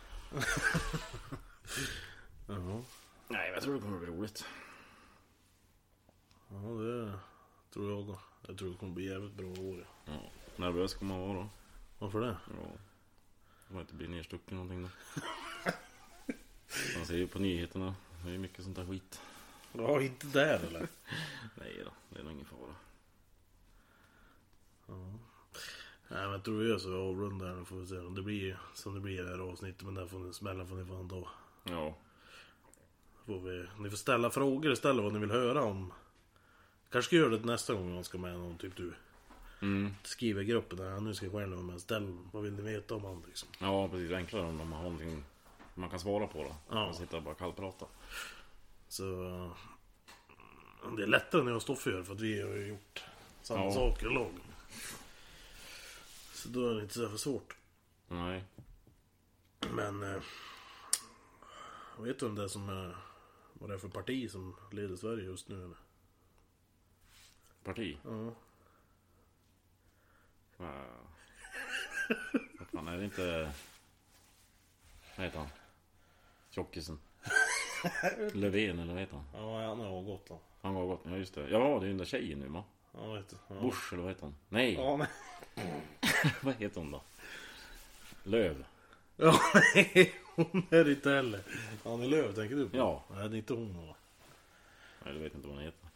Speaker 1: Ja.
Speaker 2: Nej, men jag tror det kommer bli roligt.
Speaker 1: ja, det tror jag då. Jag tror det kommer bli jävligt bra år. ja.
Speaker 2: Ja. Nervös kommer man vara då.
Speaker 1: Varför det?
Speaker 2: Ja. Om man inte blir nerstucken någonting då. Man ser ju på nyheterna. Det är ju mycket sånt där skit.
Speaker 1: Ja, inte där eller?
Speaker 2: Nej då, det är nog ingen fara.
Speaker 1: Nej men jag tror vi gör så vi avrundar här nu får vi se om det blir som det blir i det här avsnittet. Men den får ni, smällen får ni fan ta.
Speaker 2: Ja.
Speaker 1: Får vi, ni får ställa frågor istället vad ni vill höra om. Kanske ska jag göra det nästa gång man ska med någon, typ du.
Speaker 2: Mm.
Speaker 1: Skriver i gruppen där, nu ska jag själv vara med. Ställ, vad vill ni veta om han liksom?
Speaker 2: Ja, precis. Enklare om de har någonting man kan svara på då.
Speaker 1: Ja.
Speaker 2: Man sitter och bara kallprata.
Speaker 1: Så... eh, Det är lättare när jag och Stoffe gör för att vi har ju gjort samma
Speaker 2: Ja.
Speaker 1: saker i lag. Så då är det inte så jävla svårt.
Speaker 2: Nej.
Speaker 1: Men... Eh, vet du vem det är som... Eh, vad det är för parti som leder Sverige just nu eller?
Speaker 2: Parti?
Speaker 1: Ja.
Speaker 2: Ja. Vad fan är det inte... Vad heter han? Tjockisen? Löfven eller vad heter han?
Speaker 1: Ja, han har avgått då.
Speaker 2: Han var gott. Ja just det. Ja det är ju den där tjejen nu va?
Speaker 1: Ja, vet du. Ja.
Speaker 2: Bush eller vad heter hon? Nej!
Speaker 1: Ja, nej.
Speaker 2: Vad heter hon då? Löv.
Speaker 1: Ja, nej, hon är det inte heller. Annie Lööf tänker du på?
Speaker 2: Ja.
Speaker 1: Nej, det är inte hon va?
Speaker 2: Nej, jag vet inte vad hon heter.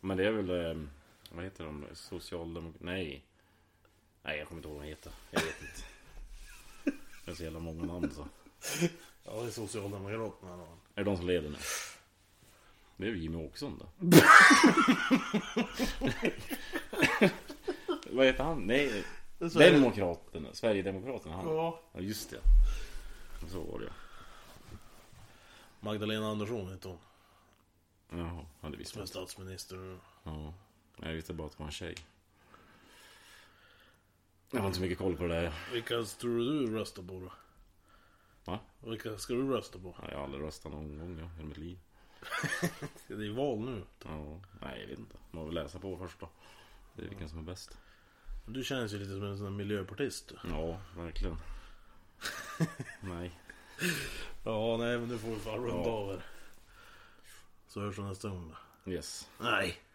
Speaker 2: Men det är väl... Eh, vad heter de? Socialdemokrat... Nej. Nej, jag kommer inte ihåg vad hon heter. Jag vet inte. Det är så jävla många namn så.
Speaker 1: Ja, det är Socialdemokraterna. då.
Speaker 2: Är det de som leder nu? Det är ju Jimmie Åkesson då. vad heter han? Nej. Demokraterna. Sverigedemokraterna. Han.
Speaker 1: Ja.
Speaker 2: Ja, just det. Så var det ja.
Speaker 1: Magdalena Andersson heter hon.
Speaker 2: Jaha, ja, det visste
Speaker 1: Som är
Speaker 2: jag inte.
Speaker 1: statsminister nu.
Speaker 2: Ja. Jag visste bara att det var en tjej. Jag har inte så mycket koll på det där.
Speaker 1: Vilka tror du röstar på då?
Speaker 2: Va?
Speaker 1: Vilka ska du rösta på?
Speaker 2: Ja, Jag har aldrig röstat någon gång ja, i mitt liv.
Speaker 1: Det är val nu.
Speaker 2: Ja. Nej, jag vet inte. Man vill läsa på först då. Det är vilken som är bäst.
Speaker 1: Du känns ju lite som en sån här miljöpartist. du.
Speaker 2: Ja, verkligen. Nej.
Speaker 1: Ja, nej men nu får vi fan runda
Speaker 2: Ja.
Speaker 1: av här. Så hörs vi nästa gång då.
Speaker 2: Yes.
Speaker 1: Nej.